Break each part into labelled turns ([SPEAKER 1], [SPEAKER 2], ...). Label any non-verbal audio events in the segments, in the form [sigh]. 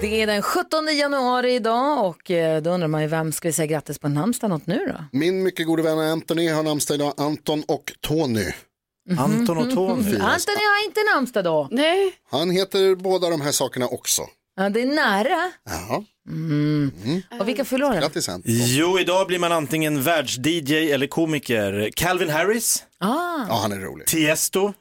[SPEAKER 1] Det är den 17 januari idag och eh, då undrar man ju vem ska vi säga grattis på namnsdag något nu då?
[SPEAKER 2] Min mycket gode vän Anthony har namnsdag idag, Anton och Tony.
[SPEAKER 3] Anton och Tony.
[SPEAKER 1] Anthony har inte namnsdag då.
[SPEAKER 4] Nej,
[SPEAKER 2] Han heter båda de här sakerna också.
[SPEAKER 1] Ja, det är nära.
[SPEAKER 2] Jaha,
[SPEAKER 1] Och vilka förlorar?
[SPEAKER 2] grattis Anton.
[SPEAKER 5] Jo, idag blir man antingen världs-DJ eller komiker. Calvin Harris,
[SPEAKER 1] Ah,
[SPEAKER 2] Ja, han är rolig.
[SPEAKER 5] Tiesto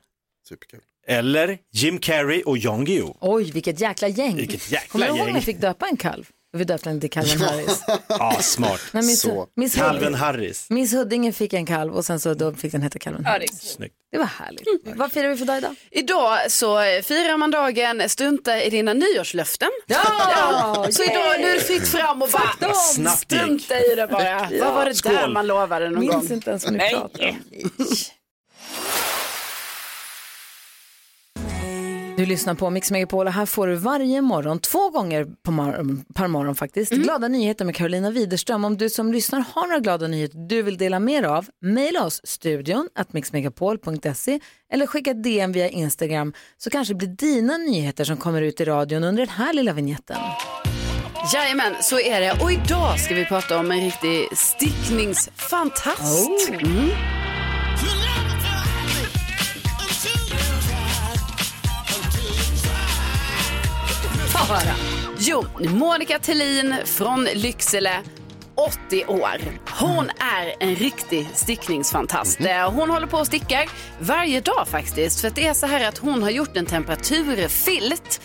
[SPEAKER 2] Superkul.
[SPEAKER 5] eller Jim Carrey och Jan Guillou.
[SPEAKER 1] oj, vilket jäkla gäng.
[SPEAKER 5] Vilket jäkla
[SPEAKER 1] Kommer du ihåg
[SPEAKER 5] gäng.
[SPEAKER 1] när vi fick döpa en kalv? Vi döpte den till Calvin Harris.
[SPEAKER 5] Ja, Ah, smart.
[SPEAKER 1] Nej, miss,
[SPEAKER 2] Så.
[SPEAKER 1] miss,
[SPEAKER 5] Calvin
[SPEAKER 1] Huddinge,
[SPEAKER 5] Harris.
[SPEAKER 1] miss Huddinge fick en kalv och sen så då fick den heta Calvin Harris.
[SPEAKER 5] Snyggt.
[SPEAKER 1] Det var härligt. Vad firar vi för dag idag?
[SPEAKER 4] idag så eh, firar man dagen, strunta i dina nyårslöften.
[SPEAKER 1] Ja!
[SPEAKER 4] Så idag, nu är det fritt fram och bara
[SPEAKER 5] snabbt det gick.
[SPEAKER 4] strunta i det bara. Vad var det där man lovade någon gång?
[SPEAKER 1] Minns inte ens vad ni pratar om. Du lyssnar på Mix Megapol och här får du varje morgon, två gånger på mor- per morgon faktiskt, glada nyheter med Carolina Widerström. Om du som lyssnar har några glada nyheter du vill dela med dig av, mejla oss studion at mixmegapol.se eller skicka ett DM via Instagram så kanske det blir dina nyheter som kommer ut i radion under den här lilla vignetten.
[SPEAKER 4] Jajamän, så är det. Och idag ska vi prata om en riktig stickningsfantast. Mm. Få höra. Jo, Monica Thelin från Lycksele. 80 år. Hon är en riktig stickningsfantast. Eh, Hon håller på och stickar varje dag faktiskt. För att det är så här att hon har gjort en temperaturfilt.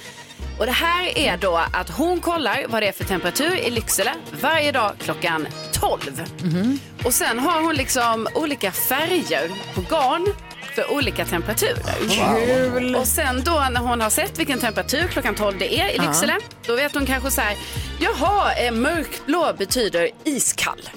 [SPEAKER 4] Och det här är då att hon kollar vad det är för temperatur i Lycksele varje dag klockan 12. Och sen har hon liksom olika färger på garn för olika temperaturer. Och sen då när hon har sett vilken temperatur klockan 12 det är i Lycksele, då vet hon kanske så här, jaha, eh, mörkblå betyder iskall.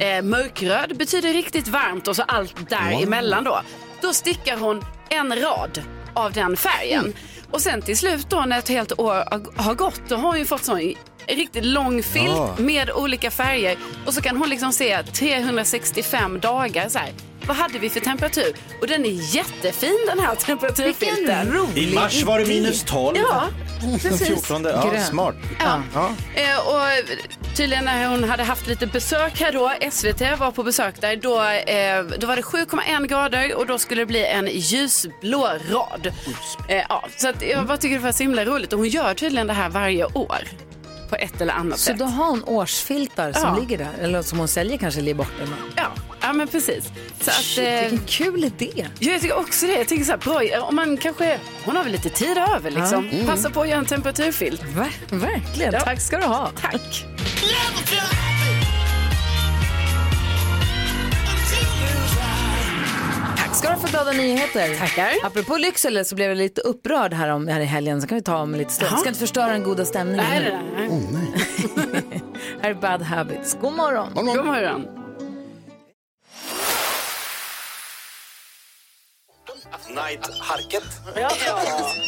[SPEAKER 4] Eh, mörkröd betyder riktigt varmt och så allt däremellan då. Då stickar hon en rad av den färgen. Och sen till slut då när ett helt år har- har gått, då har hon ju fått sån en riktigt lång filt med olika färger. Och så kan hon liksom se 365 dagar så här. Vad hade vi för temperatur? Och den är jättefin den här temperaturfilten.
[SPEAKER 1] Vilken rolig
[SPEAKER 5] I mars var det
[SPEAKER 1] idé.
[SPEAKER 5] minus 12.
[SPEAKER 4] Ja,
[SPEAKER 5] Den
[SPEAKER 4] precis.
[SPEAKER 5] 14. Ja,
[SPEAKER 1] Grön.
[SPEAKER 5] smart.
[SPEAKER 4] Ja.
[SPEAKER 5] Ja.
[SPEAKER 4] Eh, och tydligen när hon hade haft lite besök här då, SVT var på besök där, då, eh, då var det 7,1 grader och då skulle det bli en ljusblå rad. Eh, ja, så att jag bara tycker det var så himla roligt och hon gör tydligen det här varje år på ett eller annat
[SPEAKER 1] Så
[SPEAKER 4] sätt.
[SPEAKER 1] då har hon årsfiltar som
[SPEAKER 4] Ja.
[SPEAKER 1] ligger där, eller som hon säljer kanske eller ger bort. Eller något.
[SPEAKER 4] Ja, ja, men precis. Så att,
[SPEAKER 1] Shit,
[SPEAKER 4] eh,
[SPEAKER 1] vilken kul idé.
[SPEAKER 4] Ja, jag tycker också det. Jag tycker så här, bra, om man kanske, hon har väl lite tid över liksom. Passa på att göra en temperaturfilt.
[SPEAKER 1] Ver- verkligen.
[SPEAKER 4] Ja.
[SPEAKER 1] Mm. Tack ska du ha. Mm.
[SPEAKER 4] Tack.
[SPEAKER 1] Tack ska du ha för glada nyheter.
[SPEAKER 4] Tackar.
[SPEAKER 1] Apropå Lycksele så blev jag lite upprörd här, om, här i helgen, så kan vi ta om lite stund.
[SPEAKER 4] Jaha.
[SPEAKER 1] Ska inte förstöra den goda stämningen.
[SPEAKER 4] Nej, nej,
[SPEAKER 1] Mm.
[SPEAKER 4] nej.
[SPEAKER 1] [laughs] Här är Bad Habits. God morgon.
[SPEAKER 4] God morgon.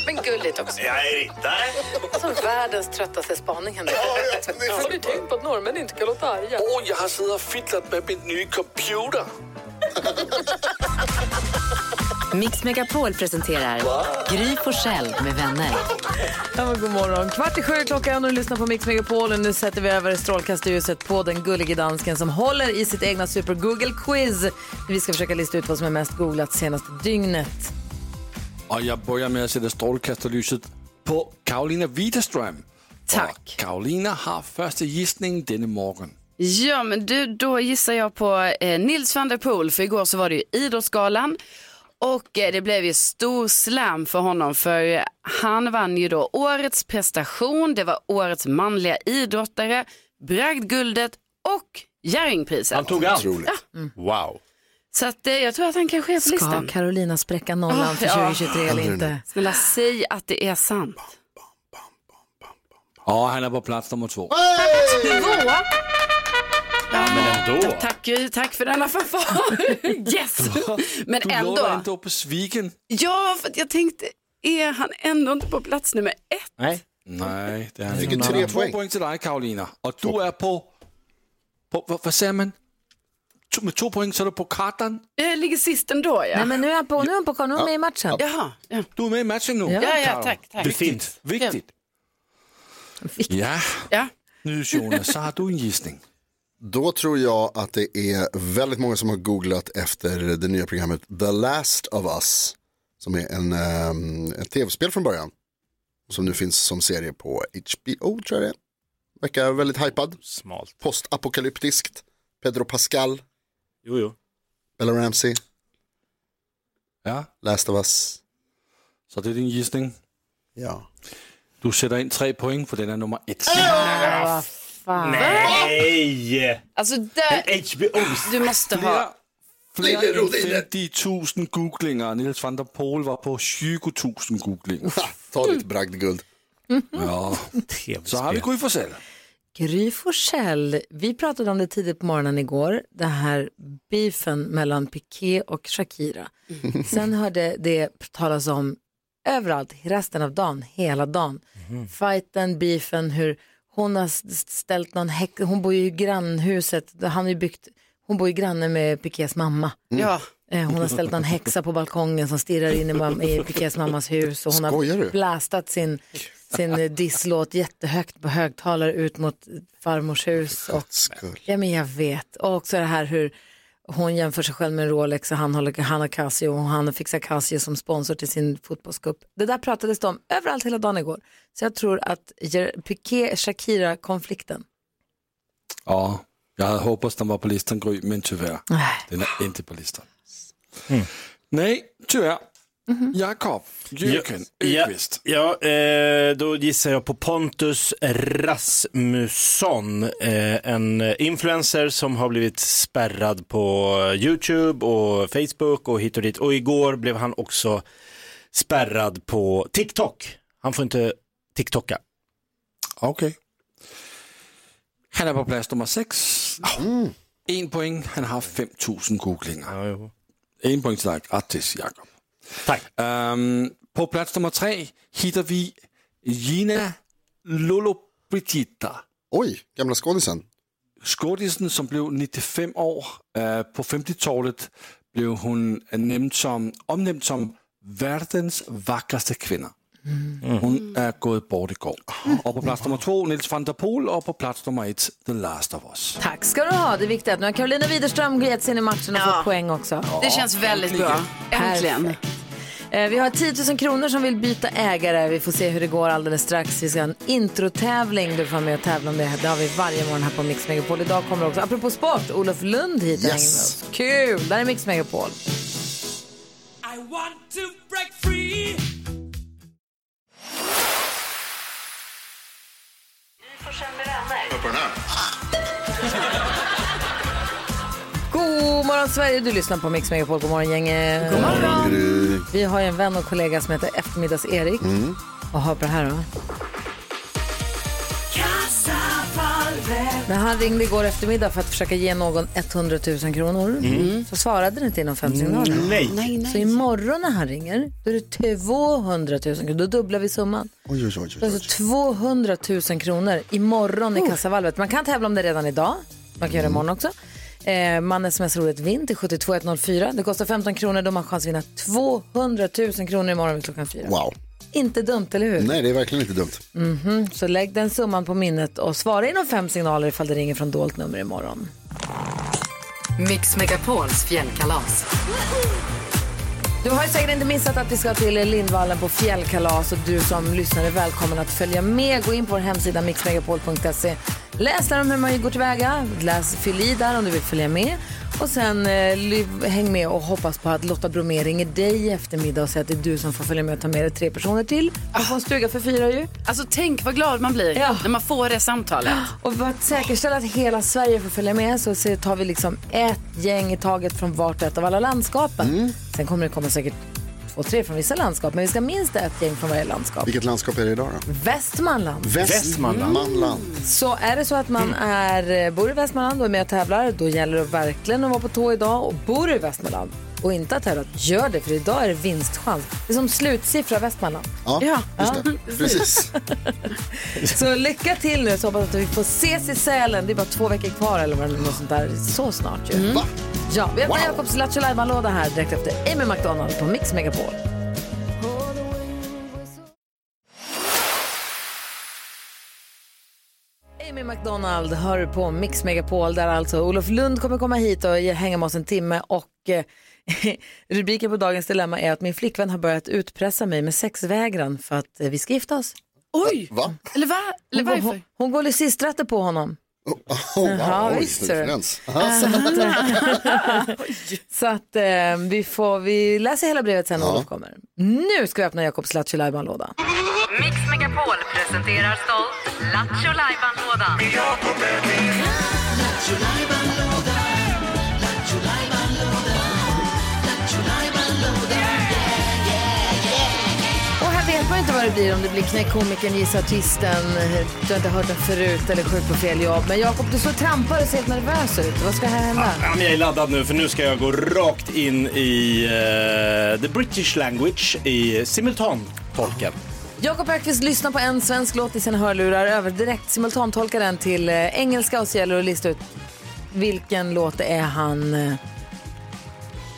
[SPEAKER 4] Men gulligt också.
[SPEAKER 5] Jag är riddare.
[SPEAKER 1] Som världens tröttaste spaning hände.
[SPEAKER 6] Åh, jag har siddet og fitlet med min nye computer.
[SPEAKER 7] [laughs] Mix Megapol presenterar Gry Forssell med vänner.
[SPEAKER 1] Ja, men god morgon. Kvart i sju är klockan och du lyssnar på Mix Megapol och nu sätter vi över strålkastarljuset på den gullige dansken som håller i sitt egna Super Google Quiz. Vi ska försöka lista ut vad som är mest googlat senaste dygnet.
[SPEAKER 6] Og jeg börjar med at sætte strålkastarlyset på Karolina Widerström.
[SPEAKER 4] Tack.
[SPEAKER 6] Og Karolina har første gissning denne morgen.
[SPEAKER 4] Ja, men du, då gissar jag på eh, Nils van der Poel, för igår så var det ju Idrottsgalan. Och eh, det blev ju stor slam för honom, för eh, han vann ju då årets prestation, det var årets manliga idrottare, Bragdguldet och
[SPEAKER 5] Han
[SPEAKER 4] Jerringpriset.
[SPEAKER 5] tog allt.
[SPEAKER 2] Otroligt.
[SPEAKER 5] Wow.
[SPEAKER 4] Så att, eh, jag tror att han kanske är på
[SPEAKER 1] Ska
[SPEAKER 4] listan.
[SPEAKER 1] Carolina spräcka nollan
[SPEAKER 4] Ah,
[SPEAKER 1] för
[SPEAKER 4] ja.
[SPEAKER 1] 2023 eller inte?
[SPEAKER 4] Snälla säg att det är sant.
[SPEAKER 6] Og han er på plads nummer to.
[SPEAKER 4] Två? Ja, men det Tack, Gry. tack för denna fanfar. [laughs] Yes! Men
[SPEAKER 6] Du lovar
[SPEAKER 4] ändå.
[SPEAKER 6] inte att besviken.
[SPEAKER 4] Ja, för att jag tänkte, är han ändå inte på plats nummer ett?
[SPEAKER 6] Nej. Nej, det är han
[SPEAKER 2] Fick
[SPEAKER 6] inte.
[SPEAKER 2] ju tre
[SPEAKER 6] Han har Två
[SPEAKER 2] poäng.
[SPEAKER 6] poäng till dig Karolina. Och du är på, på vad, vad säger man? To- Med två poäng så är du på kartan.
[SPEAKER 4] Jag Eh, ligger sist ändå, ja.
[SPEAKER 1] Nej, men nu är han på, nu är han på, nu är han med i matchen.
[SPEAKER 4] Jaha, ja.
[SPEAKER 6] Du är med i matchen nu.
[SPEAKER 4] Ja, ja,
[SPEAKER 6] Karo.
[SPEAKER 4] tack, tack.
[SPEAKER 6] Viktigt. Viktigt. Ja,
[SPEAKER 4] ja.
[SPEAKER 6] nu Jonas, så har du en gissning.
[SPEAKER 2] Då tror jag att det är väldigt många som har googlat efter det nya programmet The Last of Us. Som är en, ehm, ett tv-spel från början. Som nu finns som serie på HBO tror jag det är. Verkar väldigt hypad.
[SPEAKER 5] Smalt.
[SPEAKER 2] Postapokalyptiskt. Pedro Pascal,
[SPEAKER 5] Jo, jo.
[SPEAKER 2] Bella Ramsey,
[SPEAKER 6] Ja,
[SPEAKER 2] Last of Us.
[SPEAKER 6] så det är din gissning.
[SPEAKER 2] Ja.
[SPEAKER 6] Du sätter in tre poäng för den är nummer ett.
[SPEAKER 5] Nej!
[SPEAKER 4] Alltså, där,
[SPEAKER 5] HBO.
[SPEAKER 3] Ah,
[SPEAKER 4] du måste ha...
[SPEAKER 6] Flere, flere
[SPEAKER 2] Lille Rodine.
[SPEAKER 6] end 50.000 googlinger. Niels van der Poel var på 20.000 googlinger. Mm-hmm.
[SPEAKER 2] Ha, ta ditt bragdguld.
[SPEAKER 6] Ja. Så har vi Gry Forssell.
[SPEAKER 1] Gry Forssell, vi pratade om det tidigt på morgonen igår, det här beefen mellan Piqué och Shakira.
[SPEAKER 2] Mm.
[SPEAKER 1] Sen hörde det talas om överallt, resten av dagen, hela dagen.
[SPEAKER 2] Mm-hmm.
[SPEAKER 1] Fighten, beefen, hur hon har s- ställt någon häck, hon bor ju i grannhuset, där han har ju byggt, hon bor ju granne med Piqués mamma.
[SPEAKER 2] Mm.
[SPEAKER 4] Ja.
[SPEAKER 1] Eh, Hon har ställt någon häxa på balkongen som stirrar in i, mam- i Piqués mammas hus och hon
[SPEAKER 2] Skojar
[SPEAKER 1] har
[SPEAKER 2] du?
[SPEAKER 1] blastat sin, sin eh, disslåt jättehögt på högtalare ut mot farmors hus. Och,
[SPEAKER 2] Skull.
[SPEAKER 1] ja, men jag vet. Och också det här hur hon jämför sig själv med en Rolex och han, håller, han har Casio och han fixar Casio som sponsor till sin fotbollscup. Det där pratades det om överallt hela dagen igår. Så jag tror att Jer- Piqué-Shakira-konflikten,
[SPEAKER 6] Ja, jag hade hoppats den var på listan Gry, men tyvärr. Den är inte på listan.
[SPEAKER 5] Mm.
[SPEAKER 6] Nej, tyvärr. Jakob Jürgen
[SPEAKER 5] ja,
[SPEAKER 6] Öqvist.
[SPEAKER 5] ja eh, då gissar jag på Pontus Rasmusson, eh, en influencer som har blivit spärrad på YouTube och Facebook och hit och dit. Och igår blev han också spärrad på TikTok. Han får inte TikToka.
[SPEAKER 6] Okej. Han är på plats nummer sex.
[SPEAKER 2] Mm.
[SPEAKER 6] En poäng, han har 5.000 googlinger. En poäng till dig, grattis Jakob.
[SPEAKER 5] Tack.
[SPEAKER 6] Ehm, på plats nummer tre hittar vi Gina Lollobrigida.
[SPEAKER 2] Oj, gamla skådisen.
[SPEAKER 6] Skådisen som blev 95 år eh, på 50-talet blev hon nämnd som, omnämnd som världens vackraste kvinna. Hon är gått bort igår. Och på plats nummer två Nils van der Poel och på plats nummer ett The Last of Us.
[SPEAKER 1] Tack ska du ha. Det är viktigt att nu har Carolina Widerström gett sig in i matchen och
[SPEAKER 4] Ja.
[SPEAKER 1] fått poäng också.
[SPEAKER 4] Det känns väldigt bra. Äntligen.
[SPEAKER 1] Perfekt. Eh, Vi har 10 000 kronor som vill byta ägare. Vi får se hur det går alldeles strax. Vi ska ha en introtävling. Du får vara med och tävla om det. Det har vi varje morgon här på Mix Megapol. Idag kommer också, apropå sport, Olof Lund hit och hänger med oss. Kul! Där är Mix Megapol. God morgon Sverige! Du lyssnar på Mix Megapol. God morgon gänget. God morgon. Vi har ju en vän och kollega som heter Eftermiddags-Erik. Och hör på det här då. När han ringde igår eftermiddag för att försöka ge någon 100 000 kronor Mm. så svarade det inte inom fem signaler.
[SPEAKER 5] Nej.
[SPEAKER 4] Nej,
[SPEAKER 1] Så
[SPEAKER 4] nej.
[SPEAKER 1] imorgon när han ringer, då är det 200 000 kronor. Då dubblar vi summan.
[SPEAKER 2] Oj, oj, oj,
[SPEAKER 1] Det är
[SPEAKER 2] oj.
[SPEAKER 1] Alltså 200 000 kronor imorgon i kassavalvet. Man kan tävla om det redan idag. Man kan göra det imorgon också. Eh, man smsar ordet vinn till 72104. Det kostar 15 kronor. Då har man chans att vinna 200 000 kronor imorgon vid klockan fyra.
[SPEAKER 2] Wow.
[SPEAKER 1] Inte dumt, eller hur?
[SPEAKER 2] Nej, det är verkligen inte dumt.
[SPEAKER 1] Så lägg den summan på minnet och svara inom fem signaler ifall det ringer från dolt nummer imorgon.
[SPEAKER 7] Mix Megapols fjällkalas.
[SPEAKER 1] Du har ju säkert inte missat att vi ska till Lindvallen på fjällkalas och du som lyssnar är välkommen att följa med. Gå in på vår hemsida mixmegapol.se. Läs där om hur man går tillväga, läs, fyll i där om du vill följa med och sen eh, ly- häng med och hoppas på att Lotta Bromé ringer dig i eftermiddag och säger att det är du som får följa med och ta med dig tre personer till. Du får en stuga för fyra ju.
[SPEAKER 4] Alltså tänk vad glad man blir
[SPEAKER 1] Ja.
[SPEAKER 4] när man får det [gasps] samtalet.
[SPEAKER 1] Och för att säkerställa att hela Sverige får följa med så ser- tar vi liksom ett gäng i taget från vart och ett av alla landskapen. Sen kommer det komma säkert två, tre från vissa landskap, men vi ska minst ett gäng från varje landskap.
[SPEAKER 2] Vilket landskap är det idag då? Mm.
[SPEAKER 1] Västmanland.
[SPEAKER 8] Västmanland.
[SPEAKER 2] Västmanland.
[SPEAKER 1] Så är det så att man är, eh, bor i Västmanland och är med och tävlar, då gäller det verkligen att vara på tå idag. Och bor du i Västmanland och inte har tävlat, gör det, för idag är det vinstchans. Det är som slutsiffra Västmanland.
[SPEAKER 2] Ja, just det. Precis.
[SPEAKER 1] Så lycka till nu, så hoppas att vi får ses i Sälen. Det är bara två veckor kvar eller vad det är, något sånt där. Så snart ju.
[SPEAKER 2] Va?
[SPEAKER 1] Ja, vi öppnar Jakobs Lattjo Lajban-låda här direkt efter Amy McDonald på Mix Megapol. Amy McDonald hör på Mix Megapol där alltså Olof Lund kommer komma hit och hänga med oss en timme och eh, [laughs] rubriken på dagens dilemma är att min flickvän har börjat utpressa mig med sexvägran för att eh, vi ska gifta oss.
[SPEAKER 4] Oj!
[SPEAKER 2] Va?
[SPEAKER 4] Eller, va? Eller
[SPEAKER 1] Hon, går-
[SPEAKER 4] varför?
[SPEAKER 1] hon, hon går lyssisträtter på honom.
[SPEAKER 2] Oh, [laughs] wow,
[SPEAKER 1] Jaha,
[SPEAKER 2] oj,
[SPEAKER 1] visst,
[SPEAKER 2] snygg
[SPEAKER 1] ser du.
[SPEAKER 2] [laughs] referens. Aha.
[SPEAKER 1] Så att eh, vi, får, vi läser hela brevet sen när
[SPEAKER 2] Ja.
[SPEAKER 1] Olof kommer. Nu ska vi öppna Jakobs Lattjo låda
[SPEAKER 9] Mix Megapol presenterar stolt Lattjo Lajban-lådan.
[SPEAKER 1] Och här vet man inte vad det blir om det blir knäck komikern, gissa artisten, eh, du har inte hört den förut eller sjuk på fel jobb. Men Jakob, du står och trampar och ser helt nervös ut. Vad ska här hända?
[SPEAKER 8] Ja, men jag är laddad nu för nu ska jag gå rakt in i eh, the British language i simultantolken.
[SPEAKER 1] Jakob Ökvist lyssnar på en svensk låt i sina hörlurar, över direkt simultantolkar den till eh, engelska och så gäller det att lista ut vilken låt det är han... eh.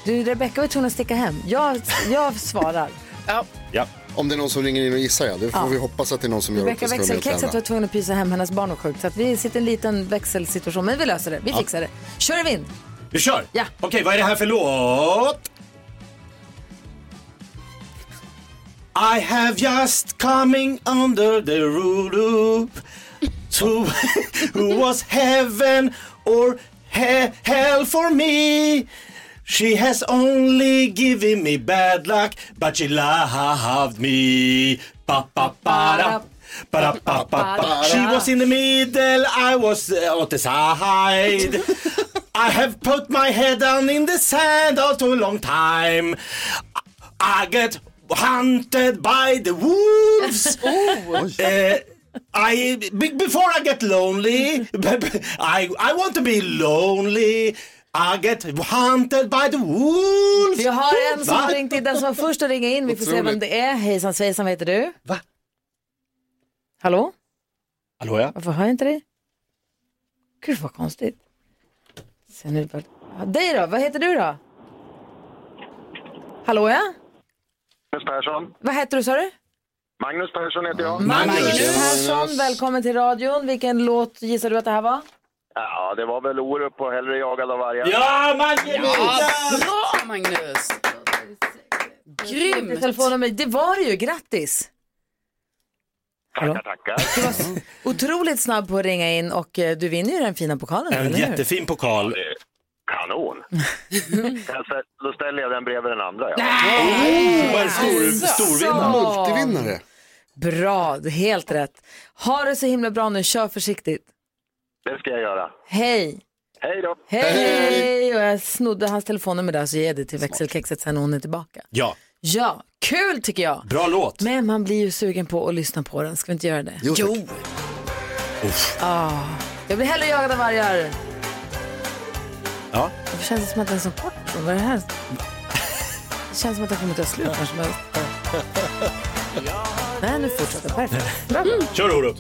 [SPEAKER 1] Du, Rebecka var tvungen att sticka hem. Jag, jag svarar.
[SPEAKER 8] Ja.
[SPEAKER 2] Om det är någon som ringer in och gissar, ja. Det får vi hoppas att det är någon som gör
[SPEAKER 1] Rebecka
[SPEAKER 2] orkestrar med
[SPEAKER 1] växelkexet var
[SPEAKER 2] tävla.
[SPEAKER 1] tvungen att pysa hem, hennes barn var sjukt. Så att vi sitter i en liten växelsituation, men vi löser det. Vi fixar det. Kör vi in!
[SPEAKER 8] Vi kör!
[SPEAKER 1] Ja.
[SPEAKER 8] Okej, vad är det här för låt? I have just coming under the roof to [laughs] who was heaven or he hell for me She has only given me bad luck but she loved me ba ba ba da. Ba, ba, ba, ba. She was in the middle, I was uh, on the side. I have put my head down in the sand all too long time. I get hunted by
[SPEAKER 1] [laughs]
[SPEAKER 8] the wolves.
[SPEAKER 1] Oh.
[SPEAKER 8] Eh, I be- before I get lonely, [laughs] I I want to be lonely. I get hunted by the wolves.
[SPEAKER 1] Vi har en som
[SPEAKER 8] Va?
[SPEAKER 1] har ringt in, den som var först att ringa in. Vi får se vem
[SPEAKER 2] Otroligt.
[SPEAKER 1] det är. Hejsan svejsan, vad heter du?
[SPEAKER 8] Va?
[SPEAKER 1] Hallå?
[SPEAKER 8] Hallå ja.
[SPEAKER 1] Varför hör jag inte dig? Gud vad konstigt. Sen nu bara... Ja, Dig då, vad heter du då? Hallå ja?
[SPEAKER 6] Magnus Persson.
[SPEAKER 1] Vad heter du sa du?
[SPEAKER 6] Magnus Persson heter jag.
[SPEAKER 1] Magnus Persson, välkommen till radion. Vilken låt gissar du att det här var?
[SPEAKER 6] Ja, det var väl Orup och Hellre jagad av vargar.
[SPEAKER 8] Ja, Magnus!
[SPEAKER 4] Bra Magnus! Grymt!
[SPEAKER 1] Telefonnummer, det var det ju, grattis! Hallå?
[SPEAKER 6] Tackar, tackar.
[SPEAKER 1] Otroligt snabb på att ringa in och eh, du vinner ju den fina pokalen,
[SPEAKER 8] En
[SPEAKER 1] eller hur?
[SPEAKER 8] jättefin pokal.
[SPEAKER 1] [laughs]
[SPEAKER 6] Kanon. Kan jag stä- Då ställer jag den bredvid den andra. Ja.
[SPEAKER 8] Oh, vad en stor,
[SPEAKER 1] Alltså.
[SPEAKER 8] storvinnare.
[SPEAKER 2] Multivinnare.
[SPEAKER 1] Bra, du är helt rätt. Ha det så himla bra nu, kör försiktigt.
[SPEAKER 6] Det ska jag göra.
[SPEAKER 1] Hej!
[SPEAKER 6] Hej då.
[SPEAKER 1] Hej! hej. Och jag snodde hans telefonnummer där så ger jag det till växelkexet sen när hon är tillbaka.
[SPEAKER 8] Ja,
[SPEAKER 1] Ja, kul tycker jag!
[SPEAKER 8] bra låt.
[SPEAKER 1] Men man blir ju sugen på att lyssna på den, ska vi inte göra det?
[SPEAKER 2] Jo, tack.
[SPEAKER 1] Jag blir hellre jagad av vargar.
[SPEAKER 8] Ja.
[SPEAKER 1] Det känns som att den är så kort. Vad är det här? Det känns som att den kommer ta slut när som helst. Nej, nu fortsätter jag. Perfekt. Bra.
[SPEAKER 8] Kör Orup.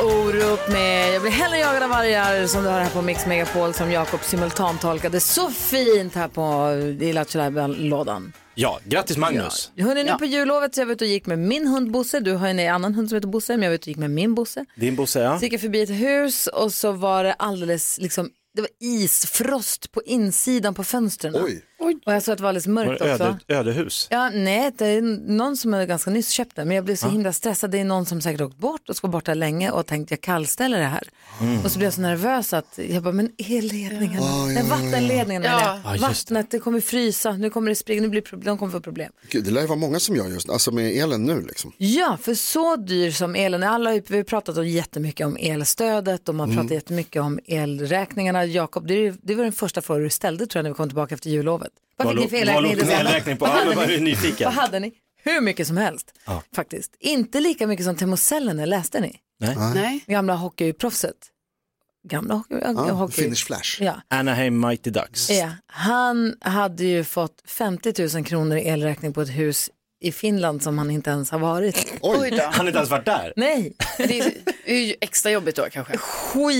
[SPEAKER 1] Orup med Jag blir hellre jagad av vargar som du har här på Mix Megapol som Jakob simultantolkade så fint här på i Lattjo lådan
[SPEAKER 8] Ja, grattis Magnus.
[SPEAKER 1] Hörrni, nu på jullovet så jag var ute och gick med min hund Bosse. Du har ju en annan hund som heter Bosse, men jag var ute och gick med min Bosse.
[SPEAKER 8] Din Bosse, ja.
[SPEAKER 1] Så gick jag förbi ett hus och så var det alldeles liksom, det var isfrost på insidan på fönstren.
[SPEAKER 2] Oj.
[SPEAKER 1] Och jag såg att det var alldeles
[SPEAKER 8] Var
[SPEAKER 1] mörkt
[SPEAKER 8] det
[SPEAKER 1] också.
[SPEAKER 8] öde, ödehus?
[SPEAKER 1] Ja, nej, det är någon som jag ganska nyss köpt den, men jag blev så himla stressad. Det är någon som säkert åkt bort och ska vara borta länge och tänkt jag kallställer det här.
[SPEAKER 10] Mm.
[SPEAKER 1] Och så blev jag så nervös att jag bara, men elledningen,
[SPEAKER 10] Ja.
[SPEAKER 1] nej,
[SPEAKER 10] Ja, ja, ja.
[SPEAKER 1] vattenledningen,
[SPEAKER 10] Ja.
[SPEAKER 1] menar jag.
[SPEAKER 2] Ja, just det.
[SPEAKER 1] vattnet, det kommer frysa, nu kommer det springa, nu blir problem, de kommer få problem.
[SPEAKER 2] Gud, det lär ju vara många som gör just alltså med elen nu liksom.
[SPEAKER 1] Ja, för så dyr som elen är. Alla, har- vi har pratat om jättemycket om elstödet och man
[SPEAKER 2] Mm.
[SPEAKER 1] pratar jättemycket om elräkningarna. Jakob, det, är- det var den första frågan du ställde tror jag när vi kom tillbaka efter jullovet. Vad
[SPEAKER 8] Vad
[SPEAKER 1] fick ni
[SPEAKER 8] lå-
[SPEAKER 1] för
[SPEAKER 8] vad
[SPEAKER 1] elräkning i
[SPEAKER 8] låg din
[SPEAKER 1] december?
[SPEAKER 8] elräkning på?
[SPEAKER 1] Vad
[SPEAKER 8] Ja,
[SPEAKER 1] hade
[SPEAKER 8] men vad
[SPEAKER 1] ni?
[SPEAKER 8] är du nyfiken?
[SPEAKER 1] Vad hade ni? Hur mycket som helst
[SPEAKER 8] Ja.
[SPEAKER 1] faktiskt. Inte lika mycket som termocellerna, läste ni?
[SPEAKER 8] Nej.
[SPEAKER 1] Gamla hockeyproffset. Gamla hockey,
[SPEAKER 8] Ja,
[SPEAKER 1] hockey.
[SPEAKER 8] Finnish Flash.
[SPEAKER 1] Ja.
[SPEAKER 8] Anaheim Mighty Ducks.
[SPEAKER 1] Ja, han hade ju fått 50 000 kronor i elräkning på ett hus i Finland som han inte ens har varit.
[SPEAKER 8] Han har inte ens varit där.
[SPEAKER 1] Nej.
[SPEAKER 4] Det är- det är ju extra jobbigt då kanske.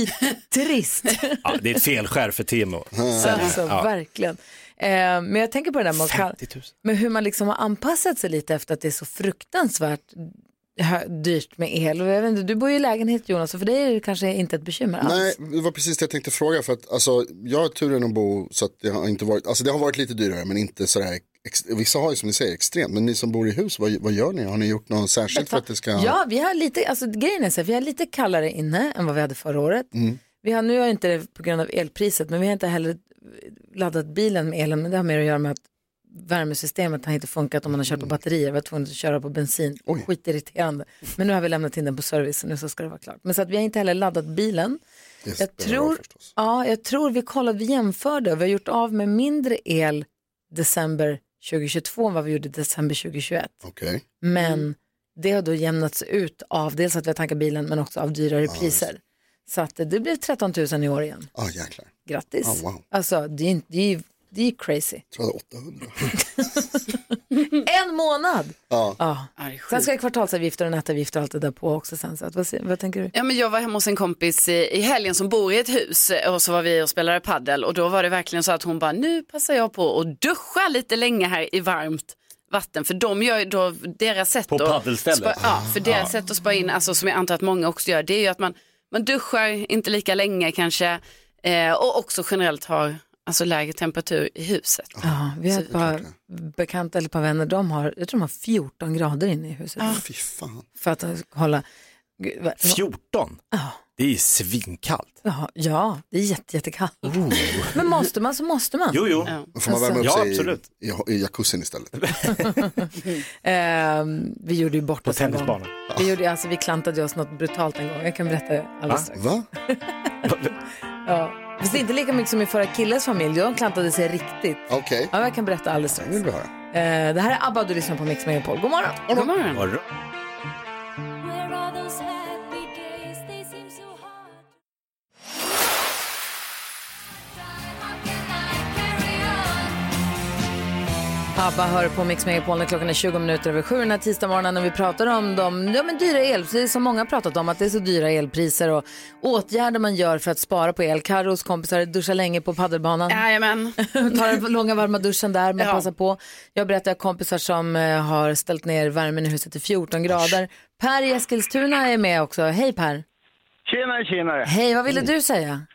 [SPEAKER 1] Skittrist.
[SPEAKER 8] Ja, det är ett felskär för Timo.
[SPEAKER 1] [laughs] Alltså, verkligen. Eh, men jag tänker på det där med, att kall-
[SPEAKER 8] 50 000.
[SPEAKER 1] med hur man liksom har anpassat sig lite efter att det är så fruktansvärt hö- dyrt med el. Och Jag vet inte, du bor ju i lägenhet Jonas, så för dig är det kanske inte ett bekymmer alls.
[SPEAKER 2] Nej, det var precis det jag tänkte fråga. För att, alltså, jag har turen att bo så att det har inte varit, alltså det har varit lite dyrare men inte sådär, ex, vissa har ju som ni säger extremt, men ni som bor i hus, vad, vad gör ni? Har ni gjort något särskilt för att det ska?
[SPEAKER 1] Ja, vi har lite, alltså grejen är så här, vi har lite kallare inne än vad vi hade förra året.
[SPEAKER 2] Mm.
[SPEAKER 1] Vi har, nu har inte det på grund av elpriset, men vi har inte heller laddat bilen med elen, men det har mer att göra med att värmesystemet har inte funkat om man har
[SPEAKER 2] Mm.
[SPEAKER 1] kört på batterier, vi har tvungna att köra på bensin, skitirriterande. Men nu har vi lämnat in den på service, nu så ska det vara klart. Men så att vi har inte heller laddat bilen.
[SPEAKER 2] Det
[SPEAKER 1] Jag
[SPEAKER 2] spelar roll
[SPEAKER 1] tror, ja, jag tror vi kollade, vi jämförde, vi har gjort av med mindre el december 2022 än vad vi gjorde december 2021.
[SPEAKER 2] Okej.
[SPEAKER 1] Men det har då jämnats ut av dels att vi har tankat bilen men också av dyrare
[SPEAKER 2] just
[SPEAKER 1] priser. Så att det blev 13 000 i år igen.
[SPEAKER 2] Ja, jäklar.
[SPEAKER 1] Grattis.
[SPEAKER 2] Ah, wow.
[SPEAKER 1] Alltså det är ju det är, ju- det är ju crazy.
[SPEAKER 2] Jag hade 800.
[SPEAKER 1] en månad!
[SPEAKER 2] Ja.
[SPEAKER 1] Ja.
[SPEAKER 4] det är
[SPEAKER 1] Sen ska det kvartalsavgifter och nätavgifter och allt det där på också sen. Så att, vad, se- vad tänker du?
[SPEAKER 4] Ja, men jag var hemma hos en kompis i, i helgen som bor i ett hus eh, och så var vi och spelade paddel och då var det verkligen så att hon bara nu passar jag på att duscha lite länge här i varmt vatten för de gör ju då deras sätt
[SPEAKER 8] På
[SPEAKER 4] att
[SPEAKER 8] paddelstället?
[SPEAKER 4] spa- Ja, för deras
[SPEAKER 8] Ja.
[SPEAKER 4] sätt att spara in, alltså som jag antar att många också gör, det är ju att man, man duschar inte lika länge kanske eh, och också generellt har alltså lägre temperatur i huset.
[SPEAKER 1] Ja, vi har ett par bekanta eller ett par vänner, de har, jag tror de har 14 grader inne i huset.
[SPEAKER 4] Ja.
[SPEAKER 2] Fy fan.
[SPEAKER 1] För att hålla... Gud, vad-
[SPEAKER 8] 14? Det är svinkallt.
[SPEAKER 1] Ja, ja, det är jätte, jättekallt. Men måste man så måste man.
[SPEAKER 8] Jo, jo.
[SPEAKER 2] Då får man
[SPEAKER 4] Alltså.
[SPEAKER 2] värma upp
[SPEAKER 8] Ja,
[SPEAKER 2] sig
[SPEAKER 8] absolut.
[SPEAKER 2] i, i, i jacuzzin istället.
[SPEAKER 1] Ehm, vi gjorde ju bort
[SPEAKER 2] På
[SPEAKER 1] oss en gång.
[SPEAKER 2] tennisbanan.
[SPEAKER 1] Vi, gjorde, alltså, vi klantade oss något brutalt en gång. Jag kan berätta det alldeles strax.
[SPEAKER 2] Va?
[SPEAKER 1] Ja. Fast det är inte lika mycket som i förra killens familj. De klantade sig riktigt.
[SPEAKER 2] Okej.
[SPEAKER 1] Ja, men jag kan berätta alldeles strax.
[SPEAKER 2] vill vi höra.
[SPEAKER 1] Ehm, det här är ABBA och du lyssnar på Mix Megapol. God morgon.
[SPEAKER 4] God morgon.
[SPEAKER 1] Mm. ABBA hör på Mix Megapol när klockan är 20 minuter över sju den här tisdagsmorgonen när vi pratar om de ja, men dyra el, precis som många har pratat om, att det är så dyra elpriser och åtgärder man gör för att spara på el. Carros kompisar duschar länge på paddelbanan.
[SPEAKER 4] Jajamän.
[SPEAKER 1] Tar den långa varma duschen där, man passar på. Jag berättar jag har kompisar som eh, har ställt ner värmen i huset till 14 grader. Per i Eskilstuna är med också. Hej Per!
[SPEAKER 6] Tjenare, tjenare.
[SPEAKER 1] Hej, vad ville du säga?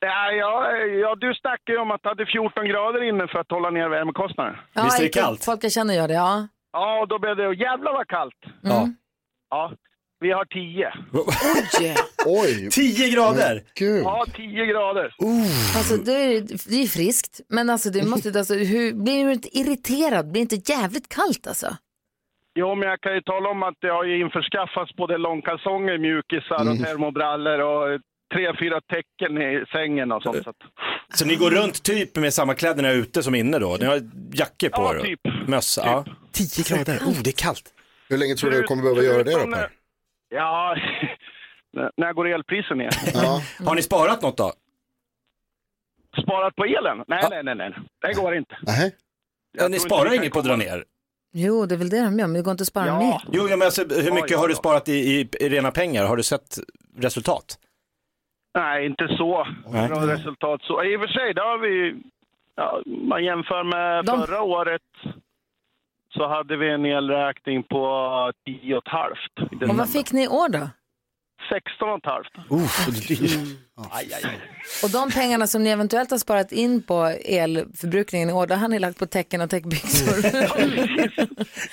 [SPEAKER 6] Ja, ja, ja, du snackade ju om att du hade 14 grader inne för att hålla ner värmekostnaden.
[SPEAKER 1] inte- Folk jag känner gör det, ja.
[SPEAKER 6] Ja, och då blev det jävla vad kallt.
[SPEAKER 8] Ja.
[SPEAKER 6] Ja, vi har 10.
[SPEAKER 2] Oj!
[SPEAKER 8] 10 grader?
[SPEAKER 6] Ja, 10 grader.
[SPEAKER 1] Alltså det är det är ju friskt, men alltså det måste alltså, hur, blir du inte irriterad? Blir det inte jävligt kallt alltså?
[SPEAKER 6] Jo, men jag kan ju tala om att det har ju införskaffats både långkalsonger, mjukisar
[SPEAKER 2] Mm.
[SPEAKER 6] och termobrallor och tre, fyra täcken i sängen och sånt. Så att-
[SPEAKER 8] Så ni går runt typ med samma kläder när ni är ute som inne då? Ni har jackor på er och
[SPEAKER 6] typ.
[SPEAKER 8] mössa? Ja. 10 grader, oh det är kallt.
[SPEAKER 2] Hur länge tror du du kommer behöva göra det då? Per?
[SPEAKER 6] Ja, [laughs] när- när går elprisen ner?
[SPEAKER 8] Har ni sparat något då?
[SPEAKER 6] Sparat på elen? Nej, nej, nej, nej. Det går inte.
[SPEAKER 2] Nej.
[SPEAKER 8] Ja, ni
[SPEAKER 6] tror
[SPEAKER 8] sparar
[SPEAKER 6] inte vi
[SPEAKER 8] inget på
[SPEAKER 6] kan
[SPEAKER 8] att dra ner?
[SPEAKER 1] Jo, det är väl det de gör, men det går inte att spara mer.
[SPEAKER 8] Jo, ja, men alltså, hur mycket
[SPEAKER 6] ja,
[SPEAKER 8] har du sparat i, i, i rena pengar? Har du sett resultat?
[SPEAKER 6] Nej, inte så.
[SPEAKER 8] Nej.
[SPEAKER 6] Bra resultat så. I och för sig, där har vi... Ja, man jämför med förra året så hade vi en elräkning på 10 och ett halvt.
[SPEAKER 1] Och vad fick ni i år då?
[SPEAKER 6] 16 och ett halvt.
[SPEAKER 8] Uff, det är dyrt.
[SPEAKER 5] Aj, aj, aj.
[SPEAKER 1] Och de pengarna som ni eventuellt har sparat in på elförbrukningen i år, det har ni lagt på täcken och täckbyxor. [laughs]
[SPEAKER 6] [laughs]